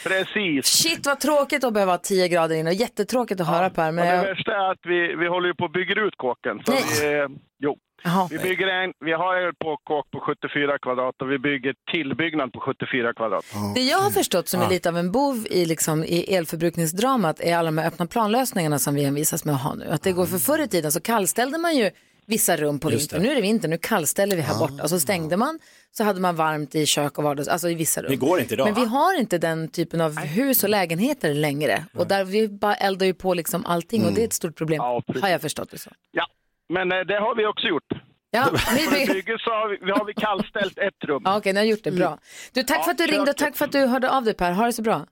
[SPEAKER 11] Precis.
[SPEAKER 1] Shit vad tråkigt att behöva ha 10 grader in och jättetråkigt att höra Per. Men
[SPEAKER 11] Men det
[SPEAKER 1] jag...
[SPEAKER 11] värsta är att vi, vi håller ju på att bygga ut kåken. Så vi, eh, jo.
[SPEAKER 1] Jaha.
[SPEAKER 11] Vi, bygger en, vi har en på kåk på 74 kvadrat och vi bygger tillbyggnad på 74 kvadrat.
[SPEAKER 1] Det jag har förstått som är
[SPEAKER 11] Ja.
[SPEAKER 1] lite av en bov i, liksom, i elförbrukningsdramat är alla de här öppna planlösningarna som vi envisas med att ha nu. Att det går för förr i tiden så kallställde man ju vissa rum på
[SPEAKER 12] Just
[SPEAKER 1] vintern.
[SPEAKER 12] det.
[SPEAKER 1] Nu är det vinter, nu kallställer vi här borta. Och så stängde man, så hade man varmt i kök och vardags, alltså i vissa rum.
[SPEAKER 5] Det går inte idag,
[SPEAKER 1] Men vi
[SPEAKER 5] va?
[SPEAKER 1] har inte den typen av hus och lägenheter längre. Och där vi bara eldar ju på liksom allting och
[SPEAKER 11] Mm.
[SPEAKER 1] det är ett stort problem. har jag förstått det så.
[SPEAKER 11] Ja, men eh, det har vi också gjort.
[SPEAKER 1] Ja,
[SPEAKER 11] vi bygger så har vi, vi har vi kallställt ett rum.
[SPEAKER 1] Ja, Okej, ni har gjort det
[SPEAKER 12] Mm.
[SPEAKER 1] bra. Du, tack
[SPEAKER 11] Ja,
[SPEAKER 1] för att du ringde och tack för att du hörde av dig Per. Ha det så bra.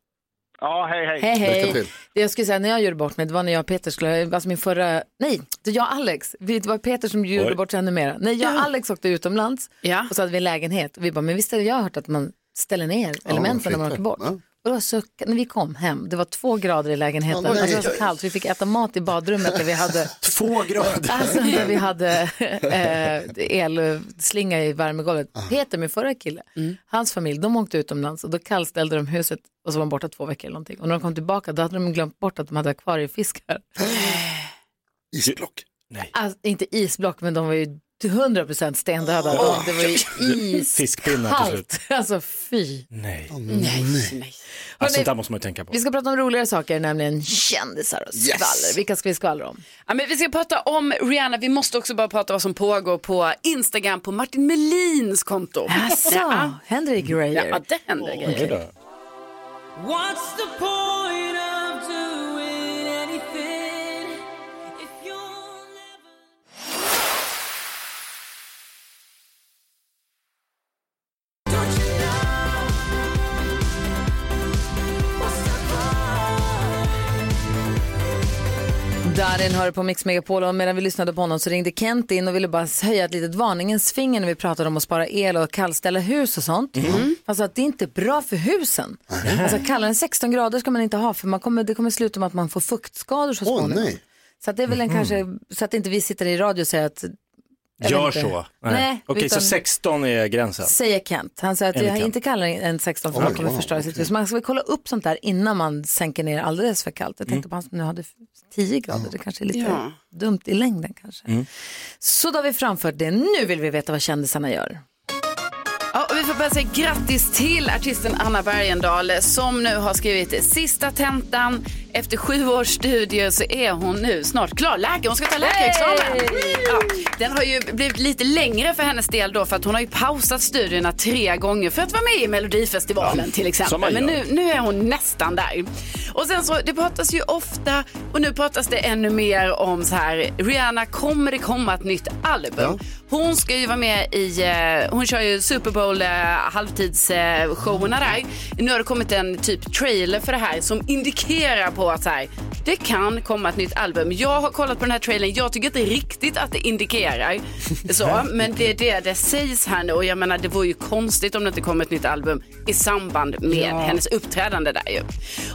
[SPEAKER 11] Ja, hej hej.
[SPEAKER 1] Hej, hej. Det jag skulle säga när jag gjorde bort mig, det var när jag och Peter skulle, alltså min förra, nej, det var jag och Alex, Vi- det var Peter som gjorde
[SPEAKER 12] Oj.
[SPEAKER 1] bort sig ännu mer. Nej, jag och Alex åkte utomlands och så hade vi en lägenhet och vi bara, men visst har jag har hört att man ställer ner elementen när man
[SPEAKER 12] fint.
[SPEAKER 1] åker bort. Och det var så, när vi kom hem, det var två grader i lägenheten,
[SPEAKER 12] Ja, nej.
[SPEAKER 1] alltså det var så kallt, vi fick äta mat i badrummet där vi hade
[SPEAKER 5] Två
[SPEAKER 8] [laughs]
[SPEAKER 5] grader?
[SPEAKER 1] Alltså där vi hade eh, elslinga i värmegolvet. Peter, min förra kille, hans familj, de åkte utomlands och då kallställde de huset och så var de borta två veckor eller någonting. Och när de kom tillbaka då hade de glömt bort att de hade akvariefiskar.
[SPEAKER 2] Isblock.
[SPEAKER 1] Alltså, inte isblock, men de var ju 100% stendöda.
[SPEAKER 5] Åh.
[SPEAKER 1] det var ju
[SPEAKER 5] Fiskpinnar till slut.
[SPEAKER 1] iskallt. Alltså fy.
[SPEAKER 5] Nej.
[SPEAKER 1] nej.
[SPEAKER 5] Alltså,
[SPEAKER 1] Hörrni,
[SPEAKER 5] sånt där måste man ju tänka på.
[SPEAKER 1] Vi ska prata om roligare saker, nämligen kändisar och
[SPEAKER 4] Yes.
[SPEAKER 1] skvaller. Vilka ska vi skvallra om?
[SPEAKER 4] Ja, men vi ska prata om Rihanna, vi måste också bara prata vad som pågår på Instagram på Martin Melins konto.
[SPEAKER 1] Jaså,
[SPEAKER 4] Ja,
[SPEAKER 1] händer det grejer?
[SPEAKER 4] Ja, det händer grejer.
[SPEAKER 12] What's the point of doing anything if you're
[SPEAKER 1] Darin hör på Mix Megapol och medan vi lyssnade på honom så ringde Kent in och ville bara höja ett litet varningens finger när vi pratade om att spara el och kallställa hus och sånt. Mm. Alltså att det är inte bra för husen. Alltså kallare än 16 grader ska man inte ha för man kommer, det kommer sluta med att man får fuktskador så småningom.
[SPEAKER 2] nej.
[SPEAKER 1] Så att det är väl en kanske, så att inte vi sitter i radio och säger att... jag vet
[SPEAKER 5] Gör
[SPEAKER 1] inte.
[SPEAKER 5] så.
[SPEAKER 1] Nej,
[SPEAKER 5] Okej,
[SPEAKER 1] utan-
[SPEAKER 5] så 16 är gränsen.
[SPEAKER 1] Säger Kent. Han säger att
[SPEAKER 5] Enligt
[SPEAKER 1] jag
[SPEAKER 5] Kent.
[SPEAKER 1] inte kallar en 16 för
[SPEAKER 5] Oj,
[SPEAKER 1] man kommer
[SPEAKER 5] wow,
[SPEAKER 1] förstöra sitt hus. Man ska väl kolla upp sånt där innan man sänker ner alldeles för kallt. Jag tänkte på han som nu hade 10 grader. Det kanske är lite
[SPEAKER 12] Ja.
[SPEAKER 1] dumt i längden kanske. Så då har vi framfört det. Nu vill vi veta vad kändisarna gör.
[SPEAKER 4] Ja, och vi får börja säga grattis till artisten Anna Bergendahl som nu har skrivit sista tentan. Efter sju års studier så är hon nu snart klar läkare. Hon ska ta läkarexamen. Ja, den har ju blivit lite längre för hennes del då för att hon har ju pausat studierna tre gånger för att vara med i Melodifestivalen
[SPEAKER 12] Ja,
[SPEAKER 4] till
[SPEAKER 12] som man
[SPEAKER 4] exempel. Men
[SPEAKER 12] gör.
[SPEAKER 4] nu, nu är hon nästan där. Och sen så, det pratas ju ofta och nu pratas det ännu mer om så här, Rihanna, kommer det komma ett nytt album? Hon ska ju vara med i, eh, hon kör ju Super Bowl eh, halvtidsshowerna där. Nu har det kommit en typ trailer för det här som indikerar på att så här, det kan komma ett nytt album. Jag har kollat på den här trailern, jag tycker inte riktigt att det indikerar så, men det är det det sägs här nu och jag menar det vore ju konstigt om det inte kom ett nytt album i samband med
[SPEAKER 12] Ja.
[SPEAKER 4] hennes uppträdande där ju.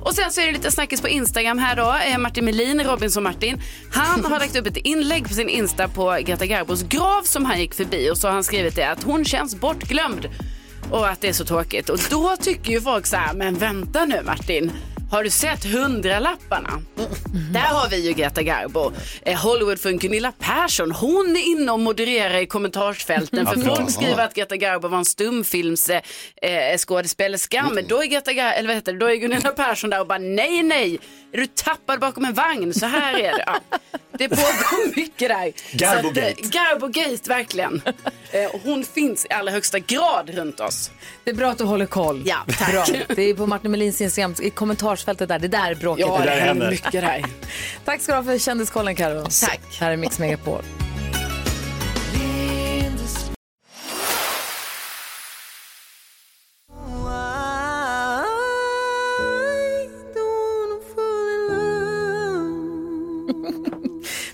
[SPEAKER 4] Och sen så är det lite snackis på Instagram här då. Eh, Martin Melin, Robinson Martin. Han har lagt upp ett inlägg på sin Insta på Greta Garbos grav som han gick förbi och så har han skrivit det att hon känns bortglömd och att det är så tråkigt. Och då tycker ju folk så här, men vänta nu Martin. Har du sett hundralapparna?
[SPEAKER 12] Mm.
[SPEAKER 4] Där har vi ju Greta Garbo. Eh, Hollywoodfrun Gunilla Persson, hon är inne och modererar i kommentarsfälten. För
[SPEAKER 12] Ja, bra.
[SPEAKER 4] folk skriver att Greta Garbo var en stumfilms eh, eh, skådespelerska.
[SPEAKER 12] Mm.
[SPEAKER 4] Men då är, Greta Gar- eller vad heter det, då är Gunilla Persson där och bara nej, nej. Är du tappad bakom en vagn? Så här är det. Ja. Det pågår [laughs] mycket där.
[SPEAKER 12] Garbogate.
[SPEAKER 4] Så att, eh, Garbogate, verkligen. Eh, och hon finns i allra högsta grad runt oss.
[SPEAKER 1] Det är bra att du håller koll.
[SPEAKER 4] [laughs] Ja, tack.
[SPEAKER 1] Bra. Det är på Martin Melins Instagram, i kommentarsfältet där. Det där är bråket. Mm.
[SPEAKER 4] Ja, det händer mycket där.
[SPEAKER 1] Tack ska du ha för kändiskollen Karo. Tack. Här är Mix Megapol.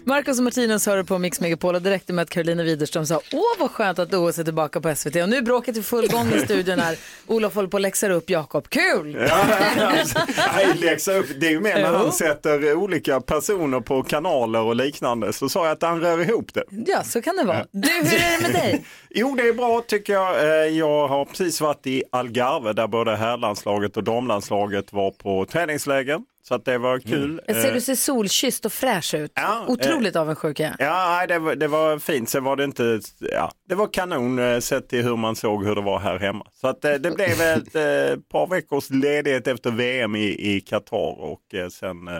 [SPEAKER 1] Marcus och Martinus hör på Mix Megapol och direkt med att Karolina Widerström sa Åh vad skönt att OS är tillbaka på SVT och nu är bråket i full gång i studion
[SPEAKER 8] [laughs]
[SPEAKER 1] här. Olof håller på och läxar upp Jakob. Kul!
[SPEAKER 8] Ja, nej, läxa upp. Det är ju mer när han sätter olika personer på kanaler och liknande. Så sa jag att han rör ihop det.
[SPEAKER 1] Ja, så kan det vara. Du, hur är det med dig?
[SPEAKER 8] Jo, det är bra tycker jag. Eh, Jag har precis varit i Algarve där både herrlandslaget och damlandslaget var på träningsläger. Så att det var kul.
[SPEAKER 1] Jag ser
[SPEAKER 8] Eh,
[SPEAKER 1] du ser solkysst och fräsch ut. Otroligt avundsjuk är jag.
[SPEAKER 8] Ja, nej, det, var, det var fint. Sen var det inte, ja, det var kanon eh, sett till hur man såg hur det var här hemma. Så att, eh, det blev ett eh, par veckors ledighet efter VM i i Qatar och eh, sen eh,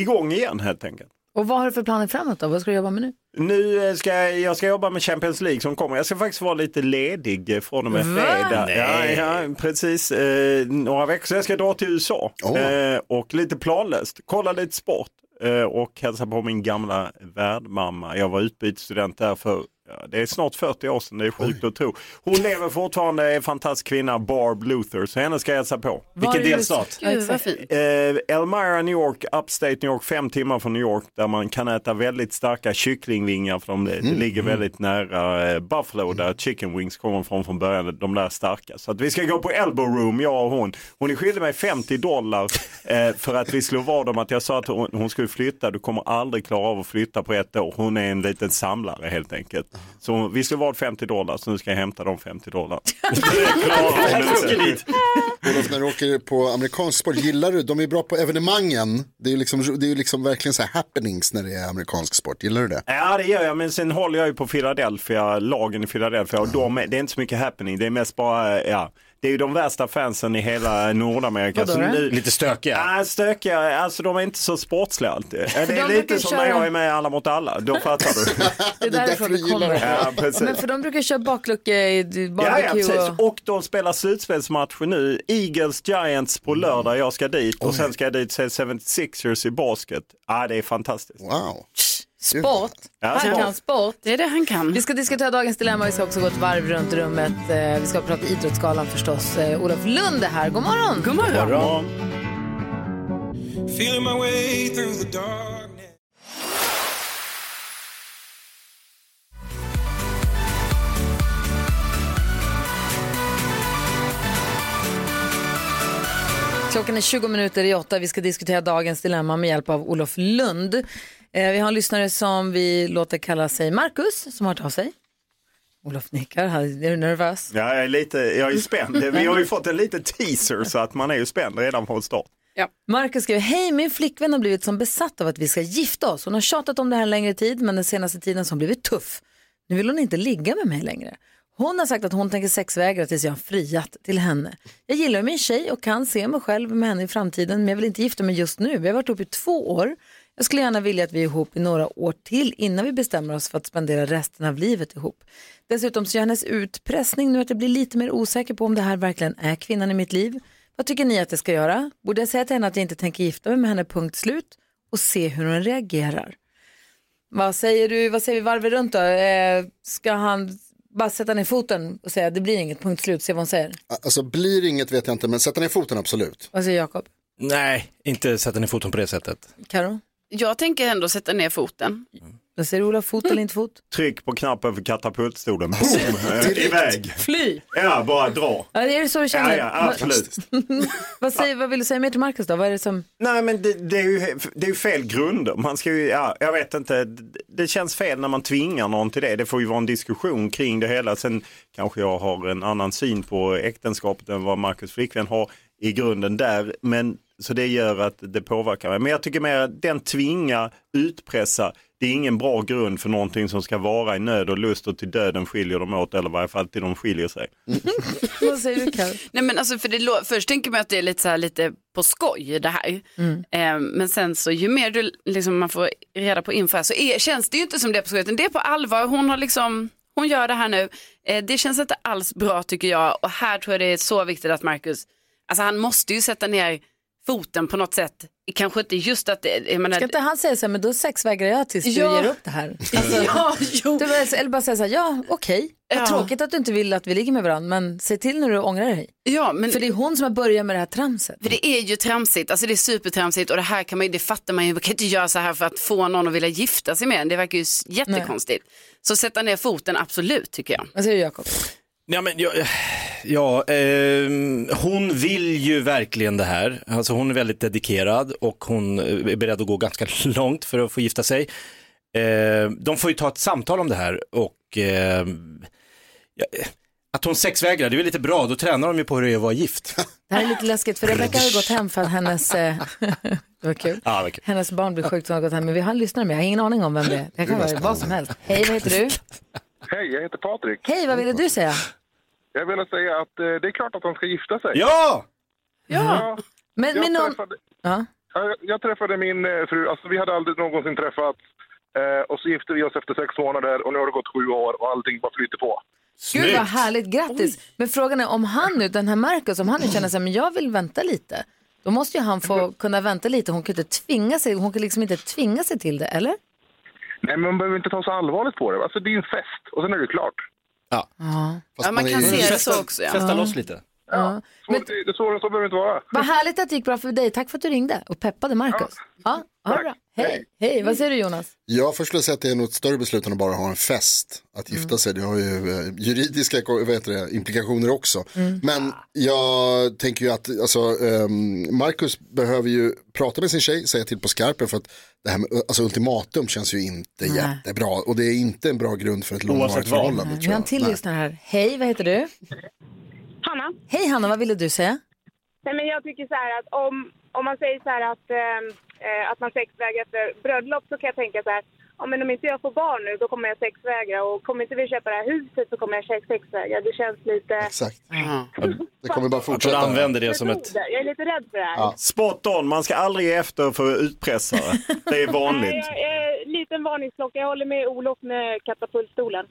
[SPEAKER 8] igång igen helt enkelt.
[SPEAKER 1] Och vad har du för planer framåt då? Vad ska du jobba med nu?
[SPEAKER 8] Nu eh, ska jag, jag ska jobba med Champions League som kommer. Jag ska faktiskt vara lite ledig eh, från och med
[SPEAKER 12] Va?
[SPEAKER 8] fredag. Ja,
[SPEAKER 12] Nej.
[SPEAKER 8] ja, precis. Eh, några veckor. Så jag ska dra till USA
[SPEAKER 12] Åh.
[SPEAKER 8] eh, och lite planlöst kolla lite sport eh, och hälsa på min gamla värdmamma. Jag var utbytesstudent där för ja, det är snart 40 år sedan, det är sjukt att tro. Hon lever fortfarande, är en fantastisk kvinna, Barb Luther, så henne ska jag hälsa på.
[SPEAKER 12] Var i USA? Gud, vad
[SPEAKER 4] fint.
[SPEAKER 8] Eh, Elmira, New York, Upstate New York, fem timmar från New York där man kan äta väldigt starka kycklingvingar för de, det
[SPEAKER 12] Mm.
[SPEAKER 8] ligger väldigt nära eh, Buffalo där chicken wings kommer från från början, de där starka. Så att vi ska gå på Elbow Room, jag och hon. Hon är skyldig mig 50 dollar eh, för att vi slog vad om att jag sa att hon, hon skulle flytta, du kommer aldrig klara av att flytta på ett år. Hon är en liten samlare helt enkelt. Så vi slog vad 50 dollar, så nu ska jag hämta de 50 dollar.
[SPEAKER 2] Olof, när du åker på amerikansk sport, gillar du, de är bra på evenemangen. Det är ju liksom, det är ju liksom verkligen så här happenings när det är amerikansk sport, gillar du det?
[SPEAKER 8] Ja det gör jag, men sen håller jag ju på Philadelphia, lagen i Philadelphia och de, är- det är inte så mycket happening, det är mest bara, eh, ja, det är ju de värsta fansen i hela Nordamerika.
[SPEAKER 5] Vadå då? Lite
[SPEAKER 8] stökiga? Ja, stökiga, alltså de är inte så sportsliga alltid. Ja, Det
[SPEAKER 1] de
[SPEAKER 8] är
[SPEAKER 1] brukar
[SPEAKER 8] lite som
[SPEAKER 1] köra-
[SPEAKER 8] när jag är med i Alla mot alla, då fattar
[SPEAKER 1] [laughs]
[SPEAKER 8] du.
[SPEAKER 1] Det är därifrån det kommer.
[SPEAKER 8] Ja, precis.
[SPEAKER 1] Men för de brukar köra baklucke,
[SPEAKER 8] Ja, ja,
[SPEAKER 1] barbecue
[SPEAKER 8] precis.
[SPEAKER 1] och...
[SPEAKER 8] Och de spelar slutspelsmatcher nu. Eagles Giants
[SPEAKER 1] Mm.
[SPEAKER 8] på lördag, jag ska dit och sen ska jag dit se 76ers i basket. Ja, det är fantastiskt.
[SPEAKER 2] Wow.
[SPEAKER 1] Sport.
[SPEAKER 8] Ja,
[SPEAKER 1] han
[SPEAKER 8] sport.
[SPEAKER 1] kan sport.
[SPEAKER 4] Det är det han kan.
[SPEAKER 1] Vi ska diskutera dagens dilemma. Vi ska också gå ett varv runt rummet. Eh, Vi ska prata Idrottsgalan förstås. Eh, Olof Lund är här. God morgon! God
[SPEAKER 8] morgon.
[SPEAKER 12] Feeling my way through the dark.
[SPEAKER 1] Klockan är 20 minuter i åtta. Vi ska diskutera dagens dilemma med hjälp av Olof Lund. Eh, Vi har en lyssnare som vi låter kalla sig Marcus, som har hört av sig. Olof nickar. Han- Är du nervös?
[SPEAKER 8] Ja, jag är lite, jag är spänd. Vi har ju fått en liten teaser så att man är ju spänd redan från start.
[SPEAKER 1] Marcus skriver, hej min flickvän har blivit som besatt av att vi ska gifta oss. Hon har tjatat om det här en längre tid men den senaste tiden så har hon blivit tuff. Nu vill hon inte ligga med mig längre. Hon har sagt att hon tänker sexvägra tills jag har friat till henne. Jag gillar min tjej och kan se mig själv med henne i framtiden men jag vill inte gifta mig just nu. Vi har varit ihop i två år. Jag skulle gärna vilja att vi är ihop i några år till innan vi bestämmer oss för att spendera resten av livet ihop. Dessutom så gör hennes utpressning nu att jag blir lite mer osäker på om det här verkligen är kvinnan i mitt liv. Vad tycker ni att jag ska göra? Borde jag säga till henne att jag inte tänker gifta mig med henne, punkt slut, och se hur hon reagerar? Vad säger du, vad säger vi varvet runt då? Eh, ska han bara sätta ner foten och säga det blir inget, punkt slut, se vad hon säger?
[SPEAKER 2] Alltså blir inget vet jag inte, men sätta ner foten absolut.
[SPEAKER 1] Vad säger Jakob?
[SPEAKER 5] Nej, inte sätta ner foten på det sättet.
[SPEAKER 1] Karo?
[SPEAKER 4] Jag tänker ändå sätta ner foten.
[SPEAKER 1] Vad säger Ola, fot eller inte fot?
[SPEAKER 8] Tryck på knappen för katapultstolen. Boom! Eh, Iväg!
[SPEAKER 1] Fly!
[SPEAKER 8] Ja, bara dra.
[SPEAKER 1] Ja, är det så du
[SPEAKER 8] Ja,
[SPEAKER 1] känner?
[SPEAKER 8] ja, absolut.
[SPEAKER 1] [laughs] vad, säger, vad vill du säga mer till Marcus då? Vad är det som...
[SPEAKER 8] Nej, men det, det, är ju, det är ju fel grunder. Man ska ju, ja, jag vet inte, det- det känns fel när man tvingar någon till det. Det får ju vara en diskussion kring det hela. Sen kanske jag har en annan syn på äktenskapet än vad Marcus flickvän har i grunden där. Men, så det gör att det påverkar mig. Men jag tycker mer att den tvinga, utpressa, det är ingen bra grund för någonting som ska vara i nöd och lust och till döden skiljer dem åt eller i varje fall till de skiljer sig.
[SPEAKER 1] Vad säger du Karo?
[SPEAKER 4] Nej men alltså för det lå- först tänker man att det är lite så här lite på skoj det här.
[SPEAKER 1] Mm.
[SPEAKER 4] Eh, men sen så ju mer du liksom man får reda på info här så är, känns det ju inte som det är på skoj utan det är på allvar. Hon har liksom, hon gör det här nu. Eh, det känns inte alls bra tycker jag och här tror jag det är så viktigt att Marcus, alltså han måste ju sätta ner foten på något sätt. Kanske inte just att det, jag menar,
[SPEAKER 1] Ska inte han säga så här, men då sexvägrar jag tills du
[SPEAKER 4] Ja.
[SPEAKER 1] ger upp det här? Alltså,
[SPEAKER 4] [laughs] Ja,
[SPEAKER 1] du bara, eller bara säga så här, ja okej. Vad tråkigt att du inte vill att vi ligger med varandra, men se till när du ångrar dig.
[SPEAKER 4] Ja, men...
[SPEAKER 1] För det är hon som har börjat med det här tramset.
[SPEAKER 4] För det är ju tramsigt, alltså det är supertramsigt och det här kan man ju, det fattar man ju, man kan inte göra så här för att få någon att vilja gifta sig med en, det verkar ju s- jättekonstigt. Så sätta ner foten, absolut tycker jag.
[SPEAKER 1] Vad säger du Jakob?
[SPEAKER 5] Ja, men jag, ja ehm, hon vill ju verkligen det här. Alltså hon är väldigt dedikerad och hon eh, är beredd att gå ganska [laughs] långt för att få gifta sig. Eh, de får ju ta ett samtal om det här och ehm, ja, att hon sexvägrar, det är väl lite bra, då tränar de ju på hur det är att vara
[SPEAKER 8] [laughs]
[SPEAKER 5] gift.
[SPEAKER 1] Det här är lite läskigt för Rebecca har ju gått hem för att hennes, eh, [laughs] det var kul.
[SPEAKER 5] ja, verkligen.
[SPEAKER 1] hennes barn blir sjukt och har gått hem. Men vi har en lyssnare med, jag har ingen aning om vem det är. Det kan vara vad som helst. Hej, vad heter du?
[SPEAKER 13] Hej, jag heter Patrik.
[SPEAKER 1] Hej, vad ville du säga?
[SPEAKER 13] Jag ville säga att eh, det är klart att de ska gifta sig.
[SPEAKER 5] Ja!
[SPEAKER 1] Ja! Men,
[SPEAKER 13] jag,
[SPEAKER 1] men om...
[SPEAKER 13] träffade,
[SPEAKER 1] Ja.
[SPEAKER 13] jag, jag träffade min eh, fru, alltså vi hade aldrig någonsin träffats. Eh, och så gifte vi oss efter sex månader och nu har det gått sju år och allting bara flyter på.
[SPEAKER 1] Gud vad härligt, grattis. Men frågan är om han nu, den här Marcus, om han nu känner sig, men jag vill vänta lite. Då måste ju han få kunna vänta lite. Hon kan ju inte tvinga sig, hon kan liksom inte tvinga sig till det, eller?
[SPEAKER 13] Nej, men man behöver inte ta så allvarligt på det. Alltså det är ju en fest och sen är det klart.
[SPEAKER 5] Ja,
[SPEAKER 1] ja.
[SPEAKER 4] Ja, man kan se det så också. Ja.
[SPEAKER 5] lite.
[SPEAKER 1] Ja.
[SPEAKER 13] Svårt- det är svårare än så behöver det inte vara.
[SPEAKER 1] Vad härligt att det gick bra för dig. Tack för att du ringde och peppade Marcus. Ja, ha det bra. Hej. Hej, vad säger du Jonas?
[SPEAKER 2] Jag först skulle säga att det är något större beslut än att bara ha en fest. Att gifta sig, det har ju eh, juridiska vad heter det, implikationer också. Men jag tänker ju att alltså, ehm, Marcus behöver ju prata med sin tjej, säga till på skarpen för att det här med alltså, ultimatum känns ju inte
[SPEAKER 1] Nej.
[SPEAKER 2] jättebra. Och det är inte en bra grund för ett långvarigt
[SPEAKER 5] Oavsett vad.
[SPEAKER 2] förhållande.
[SPEAKER 1] Vi har en till
[SPEAKER 2] Nej.
[SPEAKER 1] lyssnare här. Hej, vad heter du?
[SPEAKER 14] Hanna.
[SPEAKER 1] Hej Hanna, vad ville du säga?
[SPEAKER 14] Nej, men jag tycker så här att om, om man säger så här att, ehm, eh, att man sexvägrar efter bröllop så kan jag tänka så här. Ja, men om inte jag får barn nu då kommer jag sexvägra och kommer inte vi köpa det här huset så kommer jag sexvägra. Det känns lite...
[SPEAKER 2] Exakt.
[SPEAKER 5] Det
[SPEAKER 2] kommer bara
[SPEAKER 5] fortsätta. Att hon använder det som ett...
[SPEAKER 14] Jag är lite rädd för det här.
[SPEAKER 8] Spot on, man ska aldrig ge efter för utpressare. Det
[SPEAKER 14] Nej,
[SPEAKER 8] är vanligt.
[SPEAKER 14] jag, jag, liten varningsklocka. Jag håller med Olof med katapultstolen.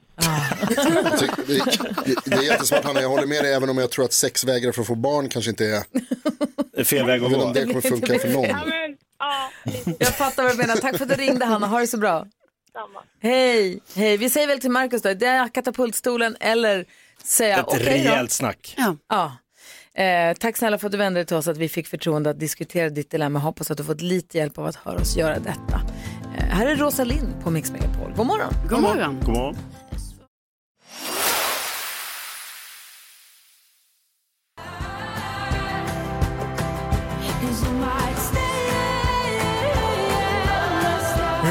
[SPEAKER 2] Jag tycker- Det, det, det är jättesmart Hanna, jag håller med dig även om jag tror att sex vägrar för att få barn kanske inte är
[SPEAKER 5] fel väg
[SPEAKER 2] att gå. Det kommer funka för någon.
[SPEAKER 14] Ja, men, ja,
[SPEAKER 1] Jag fattar vad du menar. Tack för att du ringde Hanna, ha det så bra. Hej, hej. Vi säger väl till Marcus då, det är katapultstolen eller säga
[SPEAKER 5] Ett
[SPEAKER 1] okej
[SPEAKER 5] rejält
[SPEAKER 1] då.
[SPEAKER 5] snack.
[SPEAKER 4] Ja.
[SPEAKER 1] Eh, tack snälla för att du vände dig till oss, att vi fick förtroende att diskutera ditt dilemma. Hoppas att du fått lite hjälp av att höra oss göra detta. Eh, här är Rosalind på Mix Megapol. God morgon.
[SPEAKER 4] God morgon.
[SPEAKER 8] God morgon.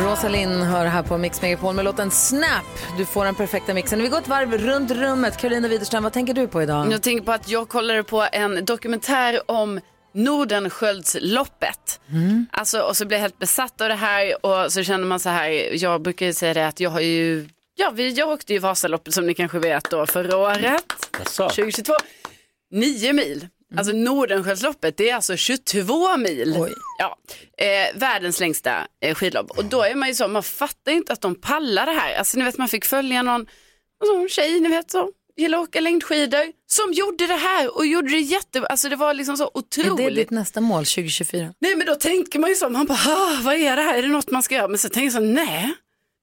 [SPEAKER 1] Rosalind hör här på Mix Megapol med låten Snap. Du får den perfekta mixen. Vi går ett varv runt rummet. Karolina Widerström, vad tänker du på idag?
[SPEAKER 4] Jag tänker på att jag kollade på en dokumentär om Nordensköldsloppet. Alltså, och så blev jag helt besatt av det här och så känner man så här, jag brukar ju säga det att jag har ju, ja vi, jag åkte ju Vasaloppet som ni kanske vet då förra året, 2022, nio mil.
[SPEAKER 1] Mm.
[SPEAKER 4] Alltså Nordensköldsloppet det är alltså 22 mil. Ja, eh, världens längsta eh, skidlopp. Och då är man ju så, man fattar ju inte att de pallar det här. Alltså ni vet man fick följa någon och så en tjej, ni vet så, gillar att åka längdskidor, som gjorde det här och gjorde det jätte, alltså det var liksom så
[SPEAKER 1] Är det
[SPEAKER 4] otroligt.
[SPEAKER 1] ditt nästa mål 2024?
[SPEAKER 4] Nej men då tänker man ju så, man bara, "Ah, vad är det här, är det något man ska göra? Men så tänker jag så, nej,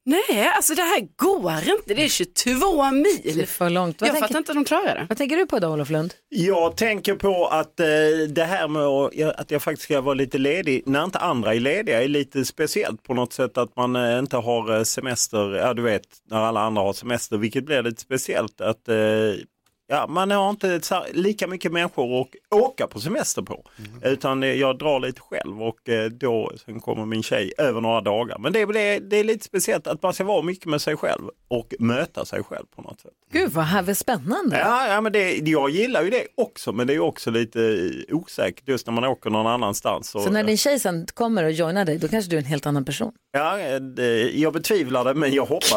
[SPEAKER 4] nej, alltså det här går inte, det är 22 mil. Det är
[SPEAKER 1] för långt.
[SPEAKER 8] Vad
[SPEAKER 4] jag
[SPEAKER 8] tänker-
[SPEAKER 4] fattar inte att de klarar det.
[SPEAKER 1] Vad tänker du på idag Olof Lund?
[SPEAKER 8] Jag tänker på att eh, det här med att jag, att jag faktiskt ska vara lite ledig när inte andra är lediga är lite speciellt på något sätt att man eh, inte har eh, semester, ja du vet när alla andra har semester vilket blir lite speciellt att eh, ja, man har inte så här, lika mycket människor att åka på semester på utan eh, jag drar lite själv och eh, då sen kommer min tjej över några dagar. Men det, är väl det, det är lite speciellt att man ska vara mycket med sig själv och möta sig själv på något sätt.
[SPEAKER 1] Gud vad här, vad spännande.
[SPEAKER 8] Ja, ja men det, jag gillar ju det också, men det är ju också lite eh, osäkert just när man åker någon annanstans. Och,
[SPEAKER 1] Så när din tjej sen kommer och joinar dig, då kanske du är en helt annan person.
[SPEAKER 8] ja, eh, det,
[SPEAKER 1] [laughs]
[SPEAKER 8] jag betvivlar det, men jag hoppas.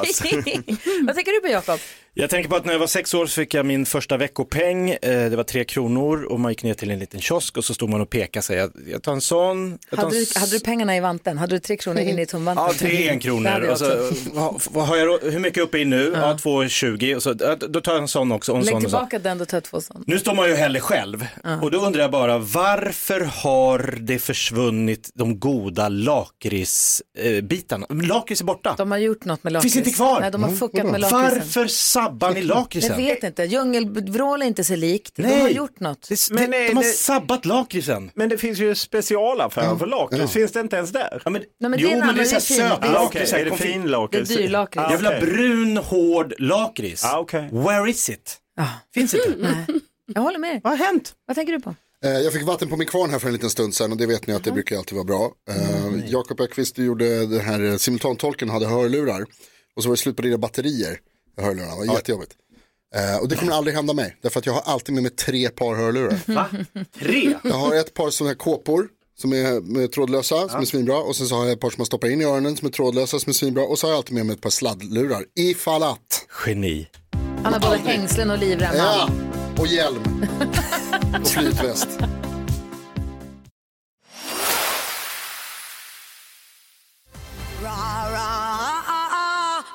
[SPEAKER 1] vad tänker du på Jakob?
[SPEAKER 5] Jag tänker på att när jag var sex år så fick jag min första första veckopeng, eh, det var tre kronor och man gick ner till en liten kiosk och så stod man och pekade sig. Jag, jag tar en sån. Jag tar
[SPEAKER 1] Hade
[SPEAKER 5] en
[SPEAKER 1] du,
[SPEAKER 5] s-
[SPEAKER 1] hade du pengarna i vanten? Hade du tre kronor inne i tomvanten?
[SPEAKER 5] Ja, tre enkronor.
[SPEAKER 1] Det hade jag
[SPEAKER 5] Och så,
[SPEAKER 1] också.
[SPEAKER 5] vad, vad har jag, då- hur mycket är jag uppe i nu? Ja, 2,20. Och så, ja, då tar jag en sån också. Och en
[SPEAKER 1] Lägg
[SPEAKER 5] sån och så.
[SPEAKER 1] tillbaka den, då tar jag två sådana.
[SPEAKER 5] Nu står man ju heller själv. Och då undrar jag bara, varför har det försvunnit de goda eh, lakritsbitarna? Lakrits är borta.
[SPEAKER 1] De har gjort något med lakrits.
[SPEAKER 5] Finns inte kvar.
[SPEAKER 1] Nej, de har fuckat med lakritsen.
[SPEAKER 5] Varför sabbar ni
[SPEAKER 1] Jag
[SPEAKER 5] lakritsen?
[SPEAKER 1] vet inte. Djungelvrål är inte sig likt. De
[SPEAKER 5] Nej.
[SPEAKER 1] har gjort något.
[SPEAKER 5] Men, de, de har sabbat lakritsen.
[SPEAKER 8] Men det finns ju specialaffärer för lakrits, finns det inte ens där?
[SPEAKER 5] Ja, men,
[SPEAKER 1] Nej, men
[SPEAKER 5] jo,
[SPEAKER 1] det är en
[SPEAKER 5] men det är
[SPEAKER 1] annan,
[SPEAKER 5] så här
[SPEAKER 1] det är fin.
[SPEAKER 5] söt
[SPEAKER 1] Det är-
[SPEAKER 5] lakrits. så här
[SPEAKER 8] ah, Är det
[SPEAKER 5] konfit-
[SPEAKER 8] fin lakrits?
[SPEAKER 1] Det är dyr lakrits.
[SPEAKER 5] Jag vill ha
[SPEAKER 1] Ah, okej.
[SPEAKER 5] brun, hård lakrits.
[SPEAKER 8] Ah,
[SPEAKER 5] Where is it? Finns inte?
[SPEAKER 1] Mm. Jag håller med dig.
[SPEAKER 8] Vad har hänt?
[SPEAKER 1] Vad tänker du på?
[SPEAKER 2] Eh, Jag fick vatten på min kvarn här för en liten stund sedan och det vet ni att det brukar alltid vara bra. Eh, Jakob Öqvist du gjorde den här eh, simultantolken, hade hörlurar och så var det slut på dina batterier i hörlurarna, det var jättejobbigt. Eh, Och det kommer aldrig hända mig, därför att jag har alltid med mig tre par hörlurar.
[SPEAKER 5] Va? Tre?
[SPEAKER 2] Jag har ett par sådana här kåpor som är med trådlösa, som är svinbra. Och sen så har jag ett par som man stoppar in i öronen som är trådlösa, som är svinbra. Och så har jag alltid med mig ett par sladdlurar, ifall att.
[SPEAKER 5] Geni.
[SPEAKER 1] Han har både hängslen och livrem.
[SPEAKER 2] Ja, och hjälm. och flytväst.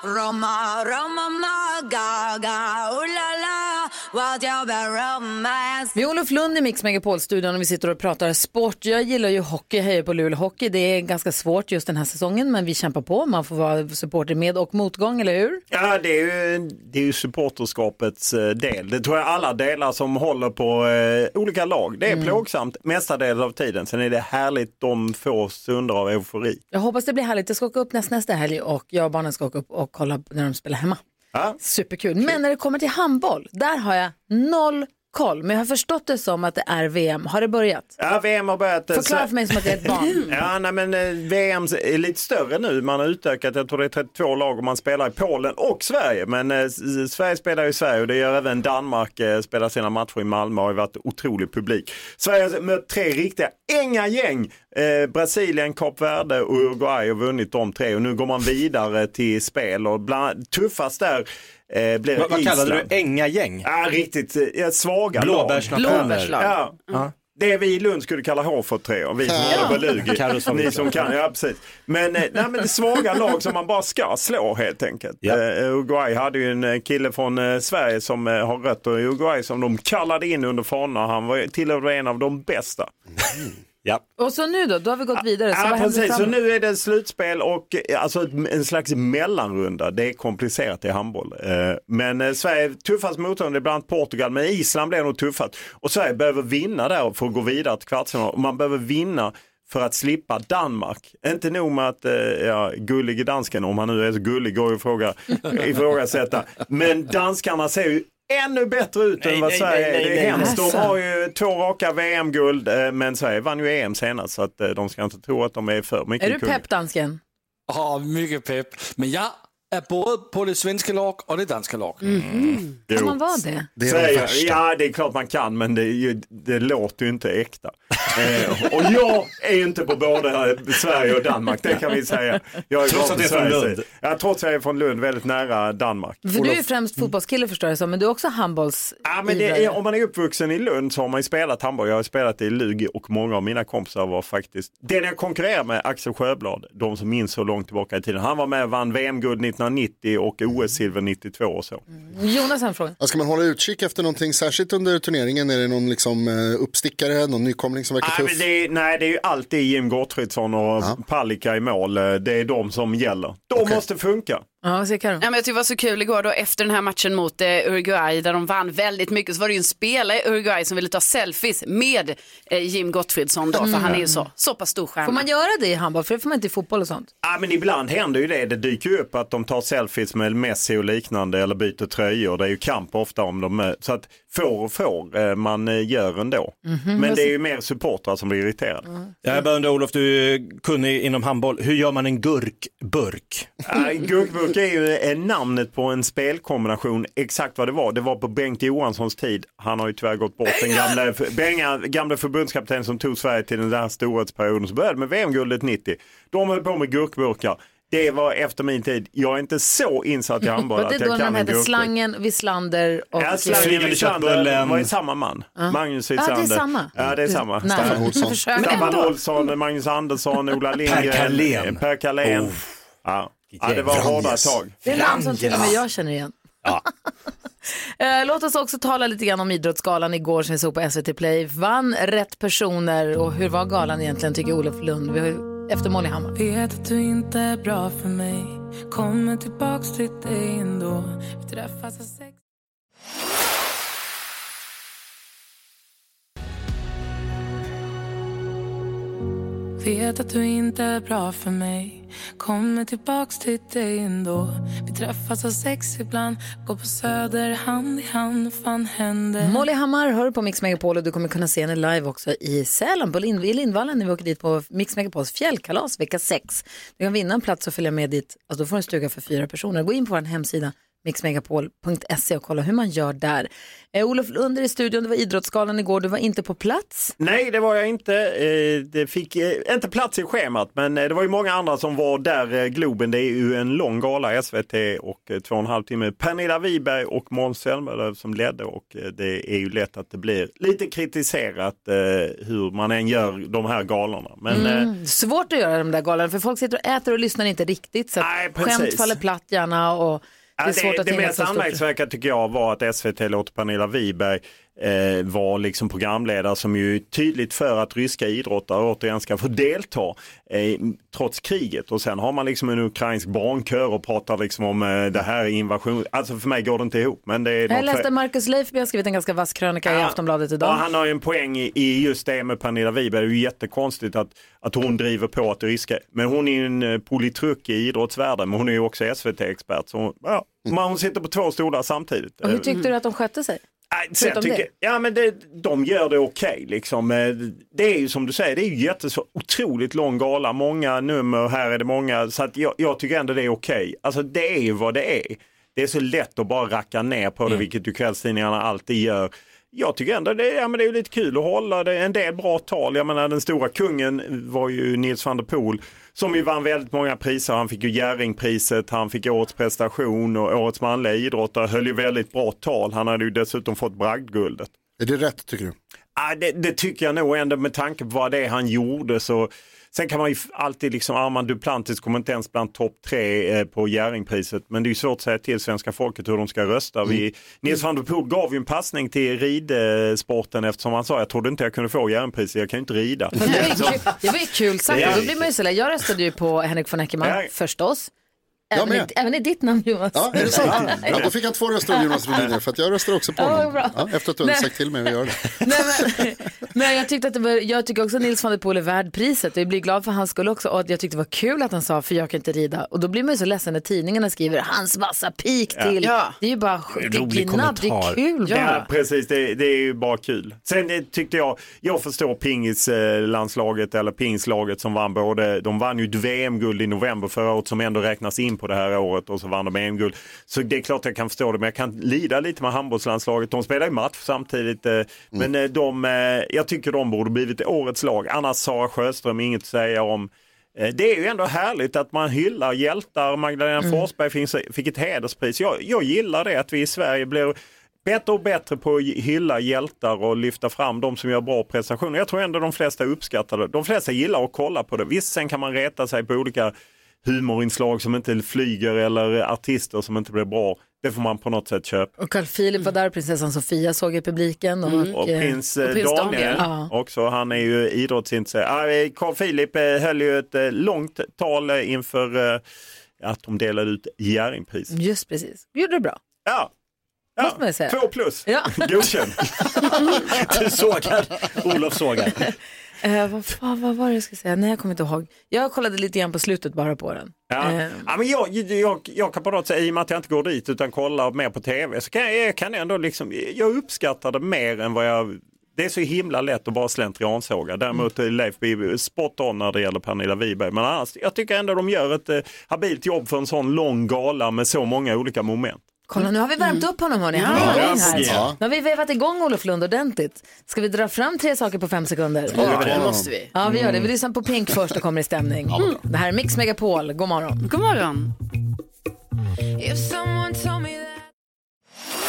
[SPEAKER 15] Roma, Roma, Gaga, ooh la la, what you romance.
[SPEAKER 1] Vi är Olof Lund i Mix Megapol-studion och vi sitter och pratar sport. Jag gillar ju hockey, jag hejar på Luleå Hockey. Det är ganska svårt just den här säsongen, men vi kämpar på. Man får vara supporter med och motgång, eller hur?
[SPEAKER 8] Ja, det är ju, det är ju supporterskapets eh, del. Det tror jag alla delar som håller på eh, olika lag. Det är plågsamt mestadels av tiden. Sen är det härligt de få stunder av eufori.
[SPEAKER 1] Jag hoppas det blir härligt. Jag ska åka upp näst, nästa helg och jag och barnen ska åka upp och kolla när de spelar hemma. Superkul. Men när det kommer till handboll, där har jag noll koll. Men jag har förstått det som att det är VM. Har det börjat?
[SPEAKER 8] Ja, VM har börjat. eh,
[SPEAKER 1] Förklara
[SPEAKER 8] så-
[SPEAKER 1] för mig som att jag är ett
[SPEAKER 8] [laughs]
[SPEAKER 1] barn.
[SPEAKER 8] Ja, nej, men eh, VM är lite större nu. Man har utökat, jag tror det är 32 lag och man spelar i Polen och Sverige. Men eh, s- s- Sverige spelar i Sverige och det gör även Danmark. Eh, spelar sina matcher i Malmö och har ju varit otrolig publik. Sverige har mött tre riktiga änga gäng. Eh, Brasilien, Kap Verde och Uruguay har vunnit de tre och nu går man vidare till spel och bland, tuffast där eh, blir
[SPEAKER 5] Vad- vad
[SPEAKER 8] Island.
[SPEAKER 5] kallade du änga gäng?
[SPEAKER 8] Ja, riktigt eh, svaga
[SPEAKER 5] Blåbärsnationer.
[SPEAKER 8] lag.
[SPEAKER 5] Blåbärslag.
[SPEAKER 8] Ja.
[SPEAKER 5] Ja.
[SPEAKER 8] Det vi i Lund skulle kalla H43 och vi som
[SPEAKER 5] Ja.
[SPEAKER 8] ja.
[SPEAKER 5] Carros
[SPEAKER 8] Lugi,
[SPEAKER 5] favorit.
[SPEAKER 8] ni som liksom- kan, ja precis. Men, eh, nej, men det är svaga lag som man bara ska slå helt enkelt. Eh, Uruguay hade ju en eh, kille från eh, Sverige som eh, har rötter i Uruguay som de kallade in under fanorna. Han var tillhörde en av de bästa.
[SPEAKER 5] Ja.
[SPEAKER 1] Och så nu då, då har vi gått vidare. Så
[SPEAKER 8] Ja,
[SPEAKER 1] vad händer
[SPEAKER 8] precis. Så
[SPEAKER 1] framåt?
[SPEAKER 8] nu är det slutspel och eh, alltså ett- en slags mellanrunda. Det är komplicerat i handboll. Eh, Men eh, Sverige, tuffast motstånd är bland annat Portugal, men Island blir nog tuffast. Och Sverige behöver vinna där för att gå vidare till kvartsfinal. Och Man behöver vinna för att slippa Danmark. Inte nog med att eh, ja, gullig i dansken, om han nu är så gullig, går ju
[SPEAKER 5] [laughs]
[SPEAKER 8] att fråga, ifrågasätta. Men danskarna ser ju ännu bättre ut än vad
[SPEAKER 5] nej,
[SPEAKER 8] Sverige
[SPEAKER 5] nej,
[SPEAKER 8] är.
[SPEAKER 5] nej,
[SPEAKER 8] Det
[SPEAKER 5] nej.
[SPEAKER 8] är hemskt. De
[SPEAKER 5] Alltså.
[SPEAKER 8] har ju två raka VM-guld, eh, men Sverige vann ju EM senast så att eh, de ska inte tro att de är för mycket
[SPEAKER 1] Är du pepp dansken?
[SPEAKER 6] Åh, mycket pepp. Men jag är både på det svenska lag och det danska lag.
[SPEAKER 1] Kan
[SPEAKER 8] Jo.
[SPEAKER 1] man vara det?
[SPEAKER 8] Det ja, det är klart man kan, men det, är ju, det låter ju inte äkta. eh, och jag är ju inte på både eh, Sverige och Danmark, det kan vi säga. Jag är
[SPEAKER 5] Trots
[SPEAKER 8] glad
[SPEAKER 5] att
[SPEAKER 8] för
[SPEAKER 5] du är från
[SPEAKER 8] Sveriges
[SPEAKER 5] Lund.
[SPEAKER 8] del. Ja, trots att jag är från Lund, väldigt nära Danmark.
[SPEAKER 1] För du är ju främst fotbollskille förstår jag som, men du är också handbolls...
[SPEAKER 8] Ja, men det är, om man är uppvuxen i Lund så har man ju spelat handboll. Jag har spelat i Lugi och många av mina kompisar var faktiskt, den jag konkurrerar med, Axel Sjöblad, de som minns så långt tillbaka i tiden. Han var med och vann VM-guld 1990 och OS-silver 92 och så.
[SPEAKER 1] Jonas har en fråga.
[SPEAKER 2] Ja, Ska man hålla utkik efter någonting särskilt under turneringen? Är det någon liksom, eh, uppstickare, någon nykomling som verkar
[SPEAKER 8] Nej, men
[SPEAKER 2] tuff?
[SPEAKER 8] det är, nej, det är ju alltid Jim Gottfridsson och Palicka i mål. Det är de som gäller. De måste funka.
[SPEAKER 1] Ja, så kan
[SPEAKER 4] Ja, men jag tyckte det var så kul igår då efter den här matchen mot eh, Uruguay där de vann väldigt mycket så var det ju en spelare i Uruguay som ville ta selfies med eh, Jim Gottfridsson då för
[SPEAKER 1] Mm.
[SPEAKER 4] han är ju så, så pass stor stjärna.
[SPEAKER 1] Får man göra det i handboll? För det får man inte i fotboll och sånt.
[SPEAKER 8] Ja, men ibland händer ju det. Det dyker ju upp att de tar selfies med Messi och liknande eller byter tröjor. Det är ju kamp ofta om de är- Så att får och får eh, man eh, gör ändå. Men det är ju mer supportrar som blir irriterade.
[SPEAKER 5] Jag bara undrar Olof, du är kunnig inom handboll. Hur gör man en gurkburk?
[SPEAKER 8] Ja, Gurkburk är ju eh, namnet på en spelkombination, exakt vad det var. Det var på Bengt Johanssons tid. Han har ju tyvärr gått bort,
[SPEAKER 1] [laughs]
[SPEAKER 8] den gamla, Benga, gamla förbundskapten som tog Sverige till den där storhetsperioden som började med VM-guldet 90. De höll på med gurkburkar. Det var efter min tid. Jag är inte
[SPEAKER 1] [laughs]
[SPEAKER 8] så insatt i handboll
[SPEAKER 1] Var det
[SPEAKER 8] att jag
[SPEAKER 1] då när de
[SPEAKER 8] kan en
[SPEAKER 1] hette
[SPEAKER 8] grupp.
[SPEAKER 1] Slangen, Wislander och...
[SPEAKER 8] Ja, Slangen och Wislander var ju samma man.
[SPEAKER 1] Ja.
[SPEAKER 8] Magnus
[SPEAKER 1] Ja, det är
[SPEAKER 8] Wislander.
[SPEAKER 1] samma. Mm.
[SPEAKER 8] Ja, det är samma.
[SPEAKER 1] Nej,
[SPEAKER 8] Staffan
[SPEAKER 1] jag
[SPEAKER 8] Olsson.
[SPEAKER 1] försöker
[SPEAKER 8] Staffan
[SPEAKER 1] ändå.
[SPEAKER 8] Olsson, Magnus Andersson, Ola Lindgren.
[SPEAKER 5] Carlén.
[SPEAKER 8] Per Carlén.
[SPEAKER 5] Oh.
[SPEAKER 8] Ja. ja, det var
[SPEAKER 5] Vranjes.
[SPEAKER 8] hårda tag.
[SPEAKER 1] Det är namn som till och med jag känner igen. [laughs] Eh, Låt oss också tala lite grann om Idrottsgalan igår som vi såg på SVT Play. Vann rätt personer och hur var galan egentligen tycker Olof Lund? Vi har ju efter Molly Hammar.
[SPEAKER 16] Vet att du inte är bra för mig Kommer tillbaks till dig ändå Vi träffas av sex Vet att du inte är bra för mig Kommer tillbaks till dig ändå Vi träffas av sex ibland Går på söder hand i hand Fan händer
[SPEAKER 1] Molly Hammar hör på Mix Megapol och du kommer kunna se henne live också i Sälen på Lind i Lindvallen när vi åker dit på Mix Megapols fjällkalas vecka 6. Du kan vinna en plats och följa med dit. Alltså, då får du en stuga för fyra personer. Gå in på vår hemsida mixmegapol.se och kolla hur man gör där. Eh, Olof Lund är i studion, det var Idrottsgalan igår, du var inte på plats.
[SPEAKER 8] Nej, det var jag inte. Eh, Det fick eh, inte plats i schemat, men eh, det var ju många andra som var där. eh, Globen, det är ju en lång gala, SVT och eh, två och en halv timme. Pernilla Wiberg och Måns Zelmerlöw som ledde och eh, det är ju lätt att det blir lite kritiserat eh, hur man än gör de här galorna. Men eh,
[SPEAKER 1] Mm. Svårt att göra de där galan för folk sitter och äter och lyssnar inte riktigt. Så att
[SPEAKER 8] precis.
[SPEAKER 1] skämt faller platt gärna och det
[SPEAKER 8] Ja,
[SPEAKER 1] är svårt
[SPEAKER 8] det,
[SPEAKER 1] att
[SPEAKER 8] det
[SPEAKER 1] hinna
[SPEAKER 8] mest
[SPEAKER 1] så stort.
[SPEAKER 8] anmärkningsvärda tycker jag var att SVT låter Pernilla Wiberg eh, vara liksom programledare som ju är tydligt för att ryska idrottare återigen ska få delta eh, trots kriget och sen har man liksom en ukrainsk barnkör och pratar liksom om eh, det här är invasion. Alltså för mig går det inte ihop. Men det är
[SPEAKER 1] Jag
[SPEAKER 8] något
[SPEAKER 1] läste
[SPEAKER 8] för-
[SPEAKER 1] Marcus Leifby har skrivit en ganska vass krönika i Aftonbladet idag.
[SPEAKER 8] Ja, han har ju en poäng i, i just det med Pernilla Wiberg. Det är ju jättekonstigt att, att hon driver på att det riskar. Men hon är ju en eh, politruk i idrottsvärlden, men hon är ju också SVT-expert. Så hon, ja, man, hon sitter på två stolar samtidigt.
[SPEAKER 1] Och hur
[SPEAKER 8] Eh,
[SPEAKER 1] tyckte du att de skötte sig?
[SPEAKER 8] så jag
[SPEAKER 1] Förutom
[SPEAKER 8] tycker, Ja men det, de gör det okej liksom. Eh, Det är ju som du säger, det är ju jättesvårt, otroligt lång gala, många nummer, här är det många. Så att jag, jag tycker ändå det är okej. Alltså det är ju vad det är. Det är så lätt att bara racka ner på det, vilket ju kvällstidningarna alltid gör. Jag tycker ändå det, är- ja, men det är ju lite kul att hålla det, en del bra tal. Jag menar den stora kungen var ju Nils van der Poel som ju vann väldigt många priser. Han fick ju Jerringpriset, han fick årets prestation och årets manliga idrottare höll ju väldigt bra tal. Han hade ju dessutom fått bragdguldet.
[SPEAKER 2] Är det rätt tycker du?
[SPEAKER 8] Ja, det, det tycker jag nog ändå med tanke på vad det är han gjorde. Så, sen kan man ju f- alltid liksom, Armand Duplantis kommer inte ens bland topp tre eh, på Jerringpriset. Men det är ju svårt att säga till svenska folket hur de ska rösta. Vi, Nils van der Poel gav ju en passning till ridsporten eftersom han sa jag trodde inte jag kunde få Jerringpriset, jag kan ju inte rida.
[SPEAKER 1] Det var ju kul, det var ju kul sagt.
[SPEAKER 8] Ja.
[SPEAKER 1] Då blir man ju så där. jag röstade ju på Henrik von Eckermann förstås.
[SPEAKER 2] Jag
[SPEAKER 1] Även i,
[SPEAKER 2] med.
[SPEAKER 1] även i ditt namn Jonas.
[SPEAKER 2] Ja, är det sant? Ja, då fick han två röster av Jonas Rhodiner för att jag röstar också på
[SPEAKER 1] Ja,
[SPEAKER 2] honom.
[SPEAKER 1] bra.
[SPEAKER 2] Ja, efter att du
[SPEAKER 1] Nej.
[SPEAKER 2] hade sagt till mig att göra det.
[SPEAKER 1] [laughs] Men jag, tyckte att det var, jag tycker också att Nils van der Poel är värd priset och jag blir glad för hans skull också. Och att jag tyckte det var kul att han sa för jag kan inte rida. Och då blir man ju så ledsen när tidningarna skriver hans vassa pik
[SPEAKER 8] Ja.
[SPEAKER 1] till.
[SPEAKER 8] Ja.
[SPEAKER 1] Det är ju bara sk- det är gnabb, det är kul.
[SPEAKER 8] Ja,
[SPEAKER 1] bara.
[SPEAKER 8] precis. Det, det är ju bara kul. Sen eh, tyckte jag, jag förstår pingislandslaget eller pingislaget som vann både, de vann ju ett VM-guld i november förra året som ändå räknas in på det här året och så vann de EM-guld. Så det är klart jag kan förstå det, men jag kan lida lite med handbollslandslaget. De spelar ju match samtidigt, eh, men eh, de, eh, jag tycker de borde blivit årets lag. Annars Sara Sjöström, inget att säga om. Eh, Det är ju ändå härligt att man hyllar hjältar. Magdalena
[SPEAKER 1] Mm.
[SPEAKER 8] Forsberg finns, fick ett hederspris. Jag, jag gillar det att vi i Sverige blir bättre och bättre på att hylla hjältar och lyfta fram de som gör bra prestationer. Jag tror ändå de flesta uppskattar det. De flesta gillar att kolla på det. Visst, sen kan man reta sig på olika humorinslag som inte flyger eller artister som inte blir bra. Det får man på något sätt köpa.
[SPEAKER 1] Och Carl Philip var där, prinsessan Sofia såg i publiken. Och,
[SPEAKER 8] Och
[SPEAKER 1] eh,
[SPEAKER 8] prins, eh, Daniel
[SPEAKER 1] Ja.
[SPEAKER 8] också, han är ju idrottsintresserad. Ah, eh, Carl Philip eh, höll ju ett eh, långt tal eh, inför eh, att de delade ut Jerringpris.
[SPEAKER 1] Just precis, gjorde det bra.
[SPEAKER 8] Ja.
[SPEAKER 1] Måste man ju säga.
[SPEAKER 8] Två plus,
[SPEAKER 1] Ja.
[SPEAKER 8] [laughs] godkänd. Du sågar, Olof sågar.
[SPEAKER 1] Eh, vad, fan, vad var det jag skulle säga? Nej, jag kommer inte ihåg. Jag kollade lite grann på slutet bara på den.
[SPEAKER 8] Ja.
[SPEAKER 1] Ehm.
[SPEAKER 8] Ja, men jag, jag, jag kan på något sätt, i och med att jag inte går dit utan kollar mer på tv, så kan jag, jag kan ändå liksom, jag uppskattar det mer än vad jag, det är så himla lätt att bara slentriansåga. Däremot
[SPEAKER 1] Mm.
[SPEAKER 8] är Leif Biby spot on när det gäller Pernilla Wiberg. Men annars, jag tycker ändå de gör ett eh, habilt jobb för en sån lång gala med så många olika moment.
[SPEAKER 1] Kolla, nu har vi värmt
[SPEAKER 7] Mm.
[SPEAKER 1] upp honom hörni. Han
[SPEAKER 12] Ja,
[SPEAKER 1] är igång
[SPEAKER 12] det
[SPEAKER 1] här.
[SPEAKER 12] fungerar.
[SPEAKER 1] Nu har vi vevat igång Olof Lund ordentligt. Ska vi dra fram tre saker på fem sekunder?
[SPEAKER 12] Ja, Ja, det måste vi.
[SPEAKER 1] Ja, vi gör
[SPEAKER 7] Mm.
[SPEAKER 1] det. Vi lyssnar på Pink först och kommer i stämning. Det här är Mix Megapol. God morgon.
[SPEAKER 4] God morgon.
[SPEAKER 7] If someone told me that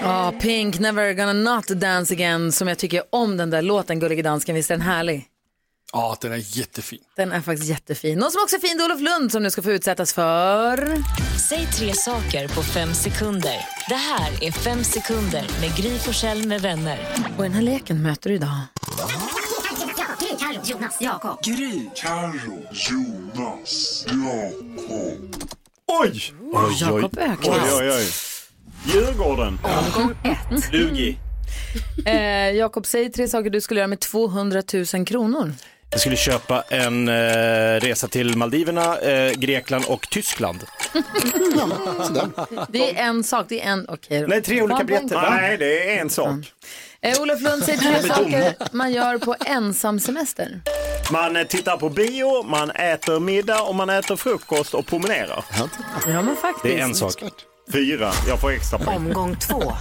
[SPEAKER 1] Ja, Pink, Never gonna not dance again, som jag tycker om den där låten, Gullige dansken. Visst är den härlig?
[SPEAKER 6] Ja, den är jättefin.
[SPEAKER 1] Den är faktiskt jättefin. Någon som också är fin, det är Olof Lund som nu ska få utsättas för...
[SPEAKER 7] Säg tre saker på fem sekunder. Det här är Fem sekunder med Gry Forssell med vänner.
[SPEAKER 1] Och den här leken möter du idag.
[SPEAKER 7] Gry, Carro, Jonas, Jakob.
[SPEAKER 12] Gry, Carro, Jonas, Jakob.
[SPEAKER 8] Oj!
[SPEAKER 12] Oj, Jakob
[SPEAKER 8] Oj,
[SPEAKER 12] Öqvist.
[SPEAKER 8] oj, oj. Djurgården. Lugi.
[SPEAKER 1] Eh, Jakob, säg tre saker du skulle göra med 200 000 kronor.
[SPEAKER 5] Jag skulle köpa en eh, resa till Maldiverna, eh, Grekland och Tyskland.
[SPEAKER 1] Det är en sak, det är en... Okej då.
[SPEAKER 5] Nej, tre olika
[SPEAKER 1] Vad var
[SPEAKER 5] biljetter.
[SPEAKER 1] inte-
[SPEAKER 8] Nej, det är en sak.
[SPEAKER 1] Eh, Olof Lund, säg tre
[SPEAKER 8] Jag blir dum.
[SPEAKER 1] saker man gör på ensam semester.
[SPEAKER 8] Man eh, tittar på bio, man äter middag och man äter frukost och promenerar.
[SPEAKER 1] Ja, men faktiskt.
[SPEAKER 8] Det är en sak. Fyra. Jag får extra poäng.
[SPEAKER 1] Omgång två.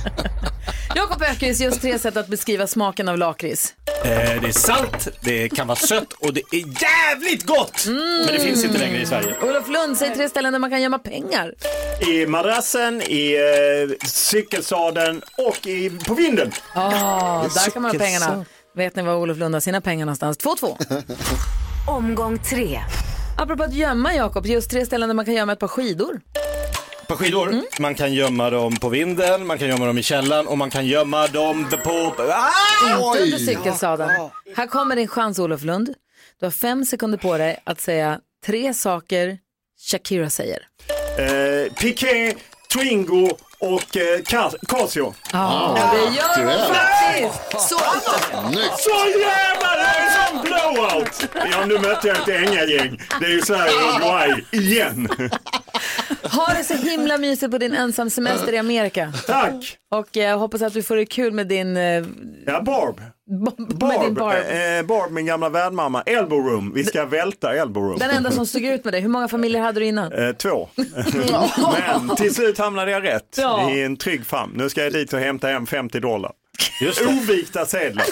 [SPEAKER 1] Jakob Ökvist, just tre sätt att beskriva smaken av lakrits.
[SPEAKER 5] Eh, det är salt, det kan vara sött och det är jävligt gott! Men det finns inte längre i Sverige.
[SPEAKER 1] Olof Lund, säg tre ställen där man kan gömma pengar.
[SPEAKER 8] I madrassen, i eh, cykelsadeln och i, på vinden.
[SPEAKER 1] Ja,
[SPEAKER 8] Det är
[SPEAKER 1] där kan man ha
[SPEAKER 8] cykel-
[SPEAKER 1] pengarna. Vet ni var Olof Lund har sina pengar någonstans? 2-2. Omgång tre. [laughs] Apropå att gömma, Jakob, just tre ställen där man kan gömma ett par skidor.
[SPEAKER 5] På skidor, man kan gömma dem på vinden, man kan gömma dem i källaren och man kan gömma dem på... Ah!
[SPEAKER 1] Inte
[SPEAKER 5] Oj!
[SPEAKER 1] under cykelsadeln. Här kommer din chans, Olof Lund. Du har fem sekunder på dig att säga tre saker Shakira säger.
[SPEAKER 8] Eh, Piqué, Twingo och eh, Cas- Casio.
[SPEAKER 1] Ja, det gör hon faktiskt! Så
[SPEAKER 8] Så jävla det är en sån blowout! Ja, nu mötte jag ett ängagäng. Det är ju Sverige och Uruguay igen.
[SPEAKER 1] Ha det så himla mysigt på din ensam semester i Amerika.
[SPEAKER 8] Tack!
[SPEAKER 1] Och eh, jag hoppas att du får det kul med din... Eh,
[SPEAKER 8] Ja, Barb.
[SPEAKER 1] Med din
[SPEAKER 8] Barb,
[SPEAKER 1] Barb.
[SPEAKER 8] eh, Barb, min gamla värdmamma. Elbow room. Vi ska välta elbow room.
[SPEAKER 1] Den enda som stod ut med dig. Hur många familjer hade du innan?
[SPEAKER 8] [laughs] Eh,
[SPEAKER 1] [laughs]
[SPEAKER 8] två. Men till slut hamnade jag rätt
[SPEAKER 1] Ja.
[SPEAKER 8] i en trygg famn. Nu ska jag dit och hämta hem 50 dollar. Ovikta sedlar.